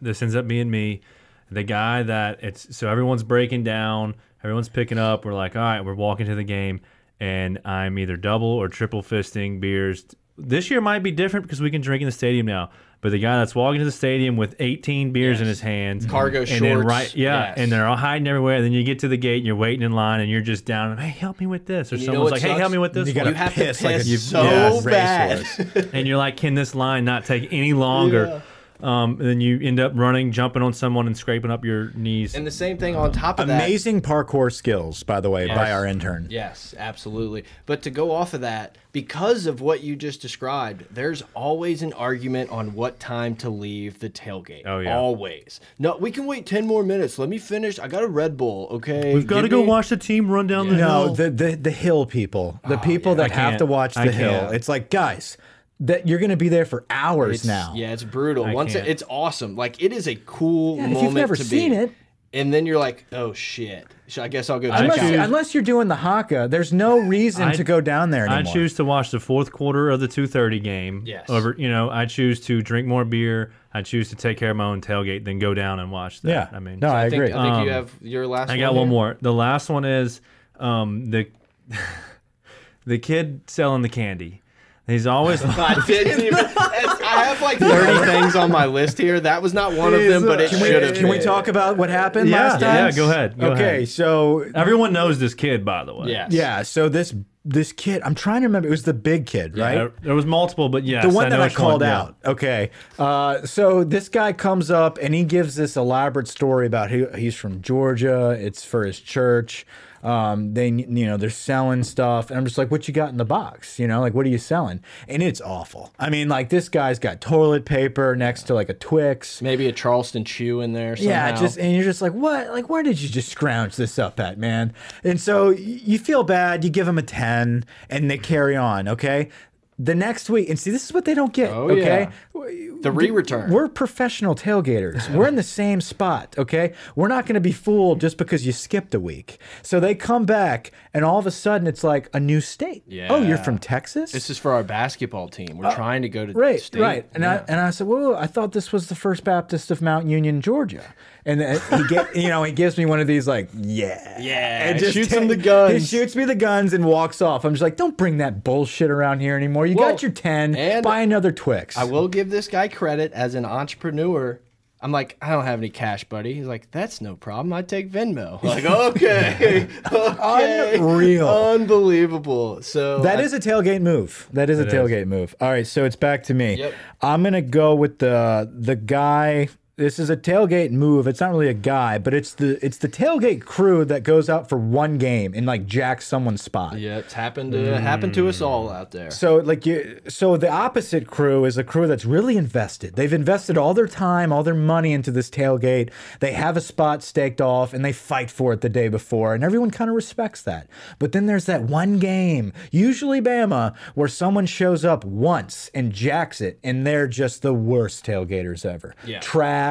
Speaker 3: this ends up being me, the guy that it's so everyone's breaking down, everyone's picking up. We're like, all right, we're walking to the game, and I'm either double or triple fisting beers this year might be different because we can drink in the stadium now. But the guy that's walking to the stadium with 18 beers in his hands,
Speaker 2: Cargo
Speaker 3: and then
Speaker 2: shorts,
Speaker 3: right, yeah,
Speaker 2: yes.
Speaker 3: and they're all hiding everywhere. And then you get to the gate and you're waiting in line, and you're just down. Hey, help me with this, or
Speaker 2: you know what
Speaker 3: someone's like, Hey, help
Speaker 2: sucks?
Speaker 3: me with this.
Speaker 1: You
Speaker 3: one."
Speaker 1: gotta
Speaker 2: You have to
Speaker 1: piss like a
Speaker 2: piss so
Speaker 1: yeah,
Speaker 2: bad.
Speaker 1: racehorse.
Speaker 3: and you're like, can this line not take any longer? Um, and then you end up running, jumping on someone, and scraping up your knees.
Speaker 2: And the same thing on top of that.
Speaker 1: Amazing parkour skills, by the way, by
Speaker 2: Yes.
Speaker 1: our intern.
Speaker 2: Yes, absolutely. But to go off of that, because of what you just described, there's always an argument on what time to leave the tailgate.
Speaker 3: Oh, yeah.
Speaker 2: Always. No, we can wait 10 more minutes. Let me finish. I got a Red Bull, okay?
Speaker 3: We've got to
Speaker 2: Give
Speaker 3: go
Speaker 2: me-
Speaker 3: watch the team run down the hill.
Speaker 1: No, the, the the hill people, the people that
Speaker 3: Oh, I
Speaker 1: have
Speaker 3: can't.
Speaker 1: to watch the
Speaker 3: I
Speaker 1: hill.
Speaker 3: can't.
Speaker 1: It's like, guys, that you're going to be there for hours
Speaker 2: It's-
Speaker 1: now.
Speaker 2: Yeah, it's brutal. Once it,
Speaker 3: can't.
Speaker 2: it's awesome. Like it is a cool
Speaker 1: Yeah, if you've
Speaker 2: moment
Speaker 1: never
Speaker 2: to
Speaker 1: seen
Speaker 2: be.
Speaker 1: it-
Speaker 2: And then you're like, oh shit. Sh- I guess I'll go check
Speaker 1: Unless,
Speaker 2: out.
Speaker 3: choose-
Speaker 1: you, unless you're doing the haka, there's no reason
Speaker 3: I-
Speaker 1: to go down there
Speaker 3: I
Speaker 1: anymore.
Speaker 3: choose to watch the fourth quarter of the 2:30 game.
Speaker 2: Yes.
Speaker 3: Over, you know, I choose to drink more beer. I choose to take care of my own tailgate, then go down and watch
Speaker 1: yeah,
Speaker 3: that. I um, mean,
Speaker 1: no, I,
Speaker 2: I think,
Speaker 1: agree.
Speaker 2: I think you have your last.
Speaker 3: I got one
Speaker 2: here.
Speaker 3: more. The last one is um, the the kid selling the candy. He's always
Speaker 2: I didn't even. it's- I have like 30 things on my list here. That was not one of them, but it
Speaker 1: can we,
Speaker 2: should have.
Speaker 1: can we
Speaker 2: been.
Speaker 1: talk about what happened
Speaker 3: Yeah,
Speaker 1: last time?
Speaker 3: yeah, go ahead, go
Speaker 1: okay,
Speaker 3: ahead. Uh,
Speaker 1: so
Speaker 3: everyone knows this kid, by the way.
Speaker 2: Yes.
Speaker 1: yeah, so this this kid, I'm trying to remember. It was the big kid, right?
Speaker 3: There, there was multiple, but yes,
Speaker 1: the one that
Speaker 3: know
Speaker 1: I
Speaker 3: which
Speaker 1: called
Speaker 3: yeah.
Speaker 1: out. Okay. Uh, so this guy comes up and he gives this elaborate story about who he's from Georgia. It's for his church. Um, they, you know, they're selling stuff, and I'm just like, "What you got in the box? You know, like, what are you selling?" And it's awful. I mean, like, this guy's got toilet paper next to like a Twix.
Speaker 2: Maybe a Charleston chew in there. Somehow.
Speaker 1: Yeah, just and you're just like, what? Like, where did you just scrounge this up at, man? And so y- you feel bad. You give them a ten, and they carry on. Okay. The next week, and see, this is what they don't get.
Speaker 2: Oh,
Speaker 1: okay,
Speaker 2: yeah. the re-return.
Speaker 1: we're professional tailgaters. We're in the same spot, okay? We're not going to be fooled just because you skipped a week. So they come back, and all of a sudden, it's like a new state. Oh, you're
Speaker 2: Yeah.
Speaker 1: from Texas?
Speaker 2: this is for our basketball team. We're trying to go to
Speaker 1: Uh, right,
Speaker 2: state.
Speaker 1: right. And I and I said, "Whoa, I thought this was the First Baptist of Mount Union, Georgia." And then he get, you know, he gives me one of these like, "Yeah,
Speaker 2: Yeah,
Speaker 1: and
Speaker 2: shoots him the
Speaker 1: He
Speaker 2: guns.
Speaker 1: shoots me the guns and walks off. I'm just like, "Don't bring that bullshit around here anymore. You
Speaker 2: Well,
Speaker 1: got your ten.
Speaker 2: and-
Speaker 1: buy another Twix."
Speaker 2: I will give this guy credit as an entrepreneur. I'm like, I don't have any cash, buddy. He's like, that's no problem. I take Venmo. Like, okay, okay,
Speaker 1: Unreal.
Speaker 2: unbelievable. So
Speaker 1: That is a tailgate move. That is a tailgate move. All right, so it's back to me.
Speaker 2: Yep.
Speaker 1: I'm gonna go with the the guy. This is a tailgate move. It's not really a guy, but it's the it's the tailgate crew that goes out for one game and like jacks someone's spot.
Speaker 2: yeah, it's happened to
Speaker 1: Mm.
Speaker 2: happened to us all out there.
Speaker 1: So like you, so the opposite crew is a crew that's really invested. They've invested all their time, all their money into this tailgate. They have a spot staked off, and they fight for it the day before, and everyone kind of respects that. But then there's that one game, usually Bama, where someone shows up once and jacks it, and they're just the worst tailgaters ever.
Speaker 2: Yeah.
Speaker 1: Trash,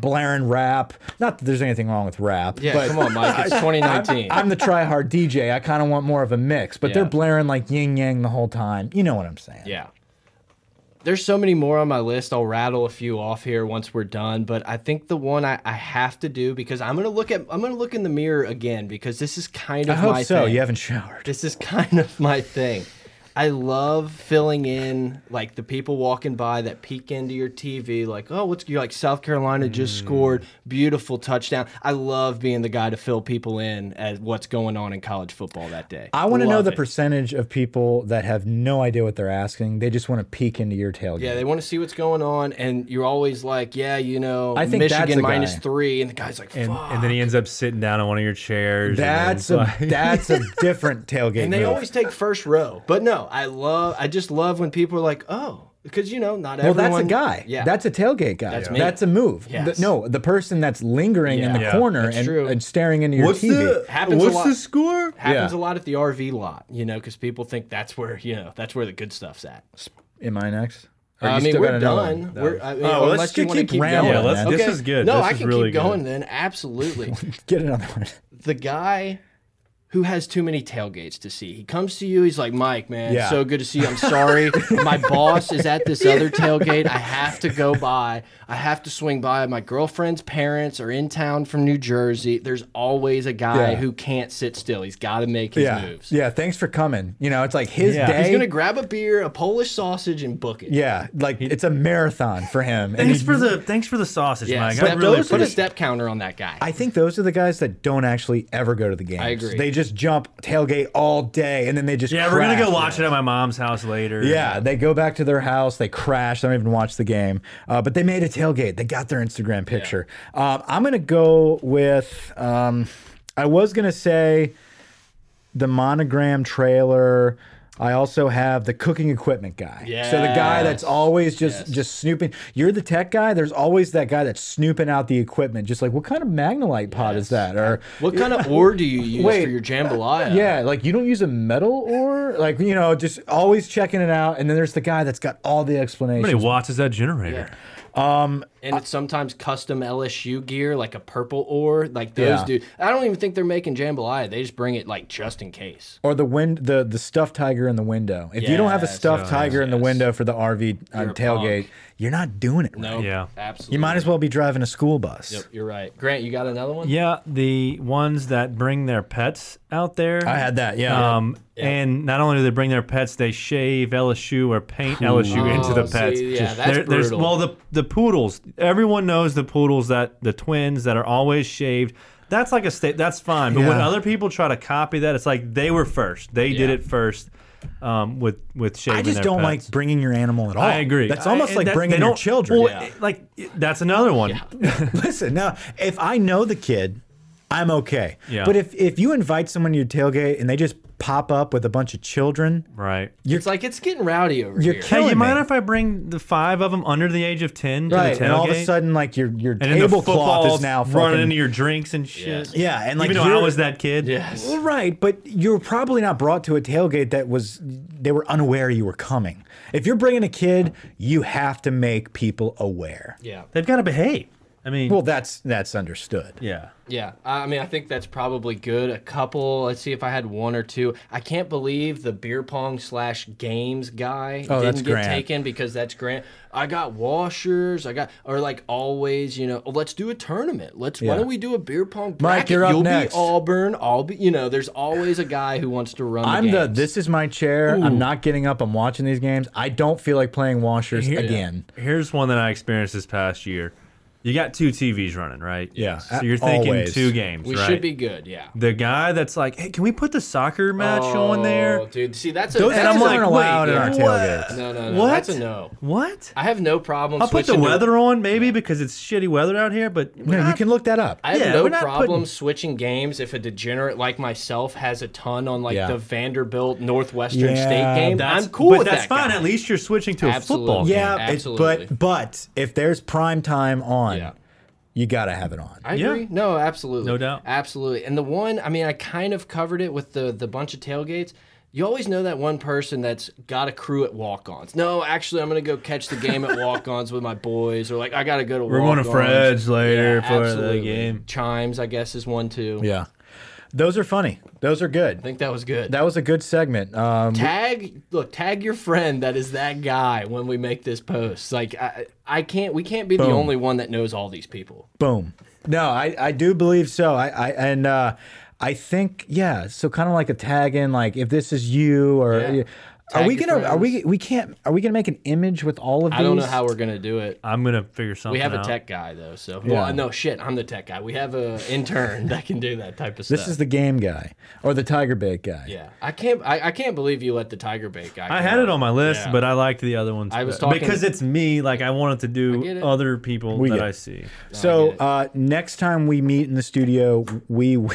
Speaker 1: blaring rap. Not that there's anything wrong with rap.
Speaker 2: Yeah,
Speaker 1: but
Speaker 2: come on, Mike. It's 2019.
Speaker 1: I'm the try hard DJ. I kind of want more of a mix, but they're
Speaker 2: Yeah.
Speaker 1: blaring like yin yang the whole time. You know what I'm saying?
Speaker 2: Yeah. There's so many more on my list. I'll rattle a few off here once we're done, but I think the one I, I have to do because I'm gonna look at I'm gonna look in the mirror again because this is kind
Speaker 1: I
Speaker 2: of
Speaker 1: hope
Speaker 2: my
Speaker 1: so.
Speaker 2: thing.
Speaker 1: You haven't showered.
Speaker 2: This is kind of my thing. I love filling in like the people walking by that peek into your TV, like, oh, what's you like South Carolina just
Speaker 1: Mm.
Speaker 2: scored, beautiful touchdown. I love being the guy to fill people in as what's going on in college football that day.
Speaker 1: I want to know
Speaker 2: Love
Speaker 1: the
Speaker 2: it.
Speaker 1: percentage of people that have no idea what they're asking. They just want to peek into your tailgate.
Speaker 2: Yeah, they want to see what's going on, and you're always like, yeah, you know,
Speaker 1: I think that's
Speaker 2: Michigan
Speaker 1: the
Speaker 2: minus
Speaker 1: guy.
Speaker 2: three, and the guy's like, fuck.
Speaker 3: And, and then he ends up sitting down on one of your chairs. and then
Speaker 1: that's
Speaker 3: it's
Speaker 1: a
Speaker 3: like-
Speaker 1: that's a different tailgate.
Speaker 2: And they
Speaker 1: move.
Speaker 2: always take first row. But no, I love, I just love when people are like, oh, because you know, not
Speaker 1: well, that's
Speaker 2: everyone.
Speaker 1: a guy.
Speaker 2: Yeah,
Speaker 1: that's a tailgate guy. That's,
Speaker 2: me.
Speaker 1: a move.
Speaker 2: Yes.
Speaker 1: The- no, the person that's lingering in the
Speaker 3: Yeah. Yeah,
Speaker 1: corner
Speaker 2: that's
Speaker 1: and,
Speaker 2: true.
Speaker 1: and staring into your TV.
Speaker 2: Happens a lot.
Speaker 3: score?
Speaker 2: happens
Speaker 1: yeah.
Speaker 2: a lot at the RV lot, you know, because people think that's where you know that's where the good stuff's at. Uh,
Speaker 1: Am I next? Or
Speaker 2: I
Speaker 1: you
Speaker 2: mean,
Speaker 1: still got
Speaker 2: we're
Speaker 1: another
Speaker 2: done.
Speaker 1: one?
Speaker 2: We're, I mean,
Speaker 1: well, Oh, let's
Speaker 2: unless you
Speaker 1: keep-
Speaker 2: wanna
Speaker 1: keep
Speaker 2: keep
Speaker 1: rambling,
Speaker 2: going.
Speaker 1: Yeah, let's-
Speaker 3: this is good.
Speaker 2: No,
Speaker 3: This
Speaker 2: I
Speaker 3: is
Speaker 2: can
Speaker 3: really
Speaker 2: keep going
Speaker 3: good.
Speaker 2: then. Absolutely.
Speaker 1: Get another one.
Speaker 2: the guy who has too many tailgates to see. He comes to you, he's like, Mike, man,
Speaker 4: Yeah.
Speaker 2: so good to see you. I'm sorry. My boss is at this other tailgate. I have to go by. I have to swing by. My girlfriend's parents are in town from New Jersey. There's always a guy
Speaker 1: Yeah.
Speaker 2: who can't sit still. He's got to make his
Speaker 1: yeah,
Speaker 2: moves.
Speaker 1: yeah. Thanks for coming. You know, it's like his
Speaker 3: Yeah.
Speaker 1: day.
Speaker 2: He's going to grab a beer, a Polish sausage, and book it.
Speaker 1: yeah, like it's a marathon for him. and
Speaker 3: Thanks
Speaker 1: he-
Speaker 3: for the thanks for the sausage,
Speaker 2: Yeah,
Speaker 3: Mike. I
Speaker 2: step-
Speaker 3: really
Speaker 2: put a
Speaker 3: appreciate
Speaker 2: step counter on that guy.
Speaker 1: I think those are the guys that don't actually ever go to the games.
Speaker 2: agree.
Speaker 1: They just jump tailgate all day and then they just
Speaker 3: Yeah, we're gonna
Speaker 1: crash.
Speaker 3: go watch it at my mom's house later.
Speaker 1: Yeah, they go back to their house, they crash, they don't even watch the game. Uh, but they made a tailgate, they got their Instagram picture. Um, I'm going to go with, um, I was going to say the monogram trailer. I also have the cooking equipment guy. So the guy that's
Speaker 2: Yes.
Speaker 1: always just just snooping. You're the tech guy. There's always that guy that's snooping out the equipment. Just like, what kind of magnolite pot is that? Or
Speaker 2: What kind of ore do you use
Speaker 1: Wait.
Speaker 2: for your jambalaya?
Speaker 1: yeah, like you don't use a metal ore, like you know, just always checking it out. And then there's the guy that's got all the
Speaker 3: How many
Speaker 1: explanations.
Speaker 3: watts is that generator?
Speaker 2: And it's sometimes custom LSU gear, like a purple ore, like those
Speaker 1: Yeah.
Speaker 2: dude. I don't even think they're making jambalaya. They just bring it like just in case.
Speaker 1: Or the wind, the the stuffed tiger in the window. If you don't have a
Speaker 2: Yes,
Speaker 1: stuffed
Speaker 3: Oh,
Speaker 2: yes,
Speaker 1: tiger in the
Speaker 2: yes.
Speaker 1: window for the RV uh,
Speaker 2: You're a
Speaker 1: tailgate,
Speaker 2: punk.
Speaker 1: you're not doing it.
Speaker 2: No,
Speaker 1: right.
Speaker 3: Yeah.
Speaker 2: absolutely.
Speaker 1: you might as well be driving a school bus.
Speaker 2: Yep, you're right, Grant. You got another one?
Speaker 3: Yeah, the ones that bring their pets out there.
Speaker 1: I had that. Yeah,
Speaker 3: Um, and not only do they bring their pets, they shave LSU or paint LSU into the
Speaker 2: Oh, see,
Speaker 3: pets.
Speaker 2: yeah, that's
Speaker 3: there's-
Speaker 2: brutal.
Speaker 3: well, the the poodles. Everyone knows the poodles that the twins that are always shaved. That's like a state. That's fine. But when
Speaker 1: Yeah.
Speaker 3: other people try to copy that, it's like they were first. They did
Speaker 2: Yeah.
Speaker 3: it first. Um, with with shaving.
Speaker 1: I just
Speaker 3: their
Speaker 1: don't
Speaker 3: pets.
Speaker 1: like bringing your animal at all.
Speaker 3: I agree.
Speaker 1: That's
Speaker 3: I-
Speaker 1: almost
Speaker 3: and
Speaker 1: like
Speaker 3: that-
Speaker 1: bringing
Speaker 3: they
Speaker 1: your
Speaker 3: don't-
Speaker 1: children.
Speaker 3: well, Like that's another one.
Speaker 1: Listen, now if I know the kid, I'm okay.
Speaker 3: Yeah.
Speaker 1: But if if you invite someone to your tailgate and they just pop up with a bunch of children,
Speaker 3: Right.
Speaker 2: It's like it's getting rowdy over
Speaker 1: You're
Speaker 2: here.
Speaker 1: kidding
Speaker 3: Hey, you
Speaker 1: Killing
Speaker 3: mind
Speaker 1: me.
Speaker 3: if I bring the five of them under the age of ten to
Speaker 1: right?
Speaker 3: the tailgate?
Speaker 1: And all of a sudden, like your your
Speaker 3: and then the
Speaker 1: tablecloth
Speaker 3: football's
Speaker 1: is now
Speaker 3: running
Speaker 1: fucking
Speaker 3: into your drinks and shit.
Speaker 2: Yes.
Speaker 1: Yeah, and like
Speaker 3: even though I
Speaker 1: you're-
Speaker 3: was that kid.
Speaker 2: yes.
Speaker 1: Well, right, but you're probably not brought to a tailgate that was they were unaware you were coming. If you're bringing a kid, you have to make people aware.
Speaker 2: Yeah.
Speaker 3: They've got to behave. I mean,
Speaker 1: Well, that's that's understood.
Speaker 3: yeah.
Speaker 2: Yeah, I I mean, I think that's probably good. A couple. Let's see if I had one or two. I can't believe the beer pong slash games guy
Speaker 1: Oh,
Speaker 2: didn't
Speaker 1: that's
Speaker 2: get
Speaker 1: Grant.
Speaker 2: taken because that's Grant. I got washers. I got or like always, you know. Oh, let's do a tournament. Let's. Why
Speaker 1: Yeah.
Speaker 2: don't we do a beer pong? Bracket?
Speaker 1: you're up
Speaker 2: You'll
Speaker 1: next.
Speaker 2: be Auburn. I'll be. You know, there's always a guy who wants to run.
Speaker 1: I'm
Speaker 2: the.
Speaker 1: the
Speaker 2: games.
Speaker 1: this is my chair. I'm not getting up. I'm watching these games. I don't feel like playing washers again.
Speaker 3: Here's one that I experienced this past year. You got two TVs running, right?
Speaker 1: Yeah,
Speaker 3: So you're thinking
Speaker 1: always.
Speaker 3: two games,
Speaker 2: We
Speaker 3: right?
Speaker 2: should be good. Yeah.
Speaker 3: the guy that's like, "Hey, can we put the soccer match on
Speaker 2: Oh,
Speaker 3: there?"
Speaker 2: dude. See, that's a.
Speaker 1: Those
Speaker 2: that's
Speaker 1: aren't
Speaker 2: a-
Speaker 3: like, wait,
Speaker 1: allowed in our
Speaker 3: what?
Speaker 1: tailgates.
Speaker 2: No, no, no.
Speaker 3: What?
Speaker 2: That's a no.
Speaker 3: What?
Speaker 2: I have no problem.
Speaker 3: I'll put the
Speaker 2: switching to-
Speaker 3: weather on maybe because it's shitty weather out here, but
Speaker 1: No, you can look that up.
Speaker 2: I have
Speaker 3: Yeah,
Speaker 2: no
Speaker 3: we're not
Speaker 2: problem
Speaker 3: putting-
Speaker 2: switching games if a degenerate like myself has a ton on like
Speaker 1: Yeah.
Speaker 2: the Vanderbilt Northwestern
Speaker 1: Yeah,
Speaker 2: State game.
Speaker 3: that's
Speaker 2: I'm cool
Speaker 3: But
Speaker 2: with
Speaker 3: that's
Speaker 2: that
Speaker 3: fine.
Speaker 2: guy.
Speaker 3: At least you're switching to
Speaker 2: Absolutely.
Speaker 3: a football game.
Speaker 1: yeah, it's,
Speaker 2: absolutely.
Speaker 1: but but if there's prime time on,
Speaker 2: Yeah.
Speaker 1: you gotta have it on.
Speaker 2: I
Speaker 3: Yeah.
Speaker 2: agree. No, absolutely.
Speaker 3: No doubt.
Speaker 2: Absolutely. And the one, I mean, I kind of covered it with the the bunch of tailgates. You always know that one person that's got a crew at walk-ons. No, actually, I'm gonna go catch the game at walk-ons with my boys, or like I gotta go to.
Speaker 3: We're going to Fred's later for the
Speaker 2: absolutely.
Speaker 3: game.
Speaker 2: Chimes, I guess, is one too.
Speaker 1: yeah, those are funny. Those are
Speaker 2: I
Speaker 1: good.
Speaker 2: think that was good.
Speaker 1: That was a good segment. Um,
Speaker 2: tag look tag your friend that is that guy when we make this post like i i can't we can't be the only one that knows all these people
Speaker 1: Boom. No, I, I do believe so. I, I and uh, I think yeah. So kind of like a tag in, like if this is you or
Speaker 2: Yeah.
Speaker 1: are
Speaker 2: Tag
Speaker 1: we
Speaker 2: your
Speaker 1: gonna are we
Speaker 2: friends.
Speaker 1: we can't are we gonna make an image with all of these?
Speaker 2: i don't know how we're gonna do it
Speaker 3: I'm gonna figure something.
Speaker 2: we have a
Speaker 3: out.
Speaker 2: tech guy though so well no shit i'm the tech guy we have a intern that can do that type of
Speaker 1: This
Speaker 2: stuff
Speaker 1: is the game guy or the tiger bait guy.
Speaker 2: yeah i can't I, I can't believe you let the tiger bait guy
Speaker 3: I
Speaker 2: go
Speaker 3: had it
Speaker 2: out.
Speaker 3: on my list,
Speaker 2: Yeah.
Speaker 3: but I liked the other ones.
Speaker 2: I was
Speaker 3: better.
Speaker 2: talking-
Speaker 3: because it's me. Like I wanted to
Speaker 2: get
Speaker 3: do
Speaker 2: it.
Speaker 3: other people
Speaker 1: We
Speaker 3: that
Speaker 1: get
Speaker 3: I
Speaker 1: it.
Speaker 3: see.
Speaker 1: So uh, next time we meet in the studio, we will-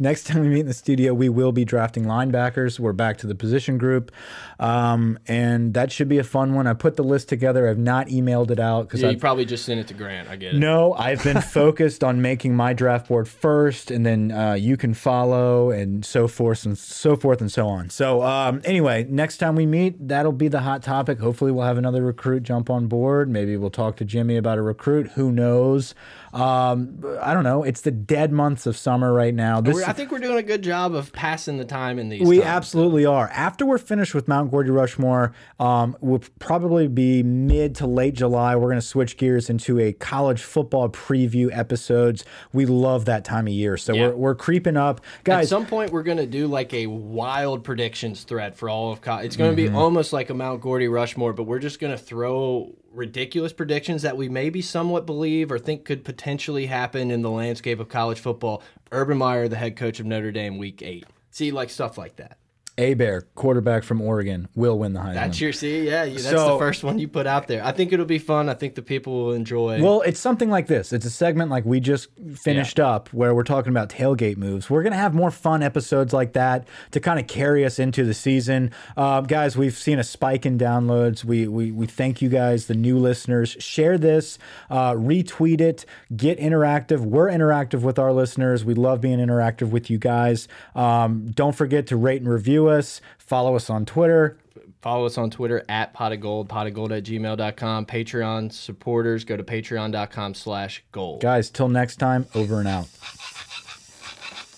Speaker 1: next time we meet in the studio, we will be drafting linebackers. We're back to the position group, um, and that should be a fun one. I put the list together. I've not emailed it out because
Speaker 2: yeah,
Speaker 1: I
Speaker 2: you probably just sent it to grant i get it
Speaker 1: No, I've been focused on making my draft board first, and then uh, you can follow, and so forth and so forth and so on. So um, anyway, next time we meet, that'll be the hot topic. Hopefully, we'll have another recruit jump on board. Maybe we'll talk to Jimmy about a recruit. Who knows? Um, I don't know. It's the dead months of summer right now. This
Speaker 2: we I think we're doing a good job of passing the time in these.
Speaker 1: We
Speaker 2: times.
Speaker 1: absolutely are. After we're finished with Mount Gordy Rushmore, um, we'll probably be mid to late July. We're going to switch gears into a college football preview episodes. We love that time of year, so
Speaker 2: Yeah.
Speaker 1: we're, we're creeping up,
Speaker 2: At
Speaker 1: guys.
Speaker 2: some point, we're going to do like a wild predictions thread for all of co It's going to
Speaker 1: Mm-hmm.
Speaker 2: be almost like a Mount Gordy Rushmore, but we're just going to throw ridiculous predictions that we maybe somewhat believe or think could potentially happen in the landscape of college football. Urban Meyer, the head coach of Notre Dame, week eight. See, like stuff like that.
Speaker 1: A Bear, quarterback from Oregon, will win the Heisman.
Speaker 2: That's your see, yeah. You, that's the
Speaker 1: So-
Speaker 2: first one you put out there. I think it'll be fun. I think the people will enjoy.
Speaker 1: Well, it's something like this. It's a segment like we just finished up where we're talking about tailgate moves. We're going to have more fun episodes like that to kind of carry us into the season. Uh, guys, we've seen a spike in downloads. We, we, we thank you guys, the new listeners. Share this, uh, retweet it, get interactive. We're interactive with our listeners. We love being interactive with you guys. Um, don't forget to rate and review us, follow us on Twitter.
Speaker 2: Follow us on Twitter at pot of gold, pot of gold at gmail.com. Patreon supporters, go to patreon.com slash gold.
Speaker 1: Guys, till next time, over and out.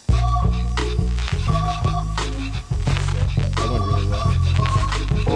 Speaker 2: That went really well.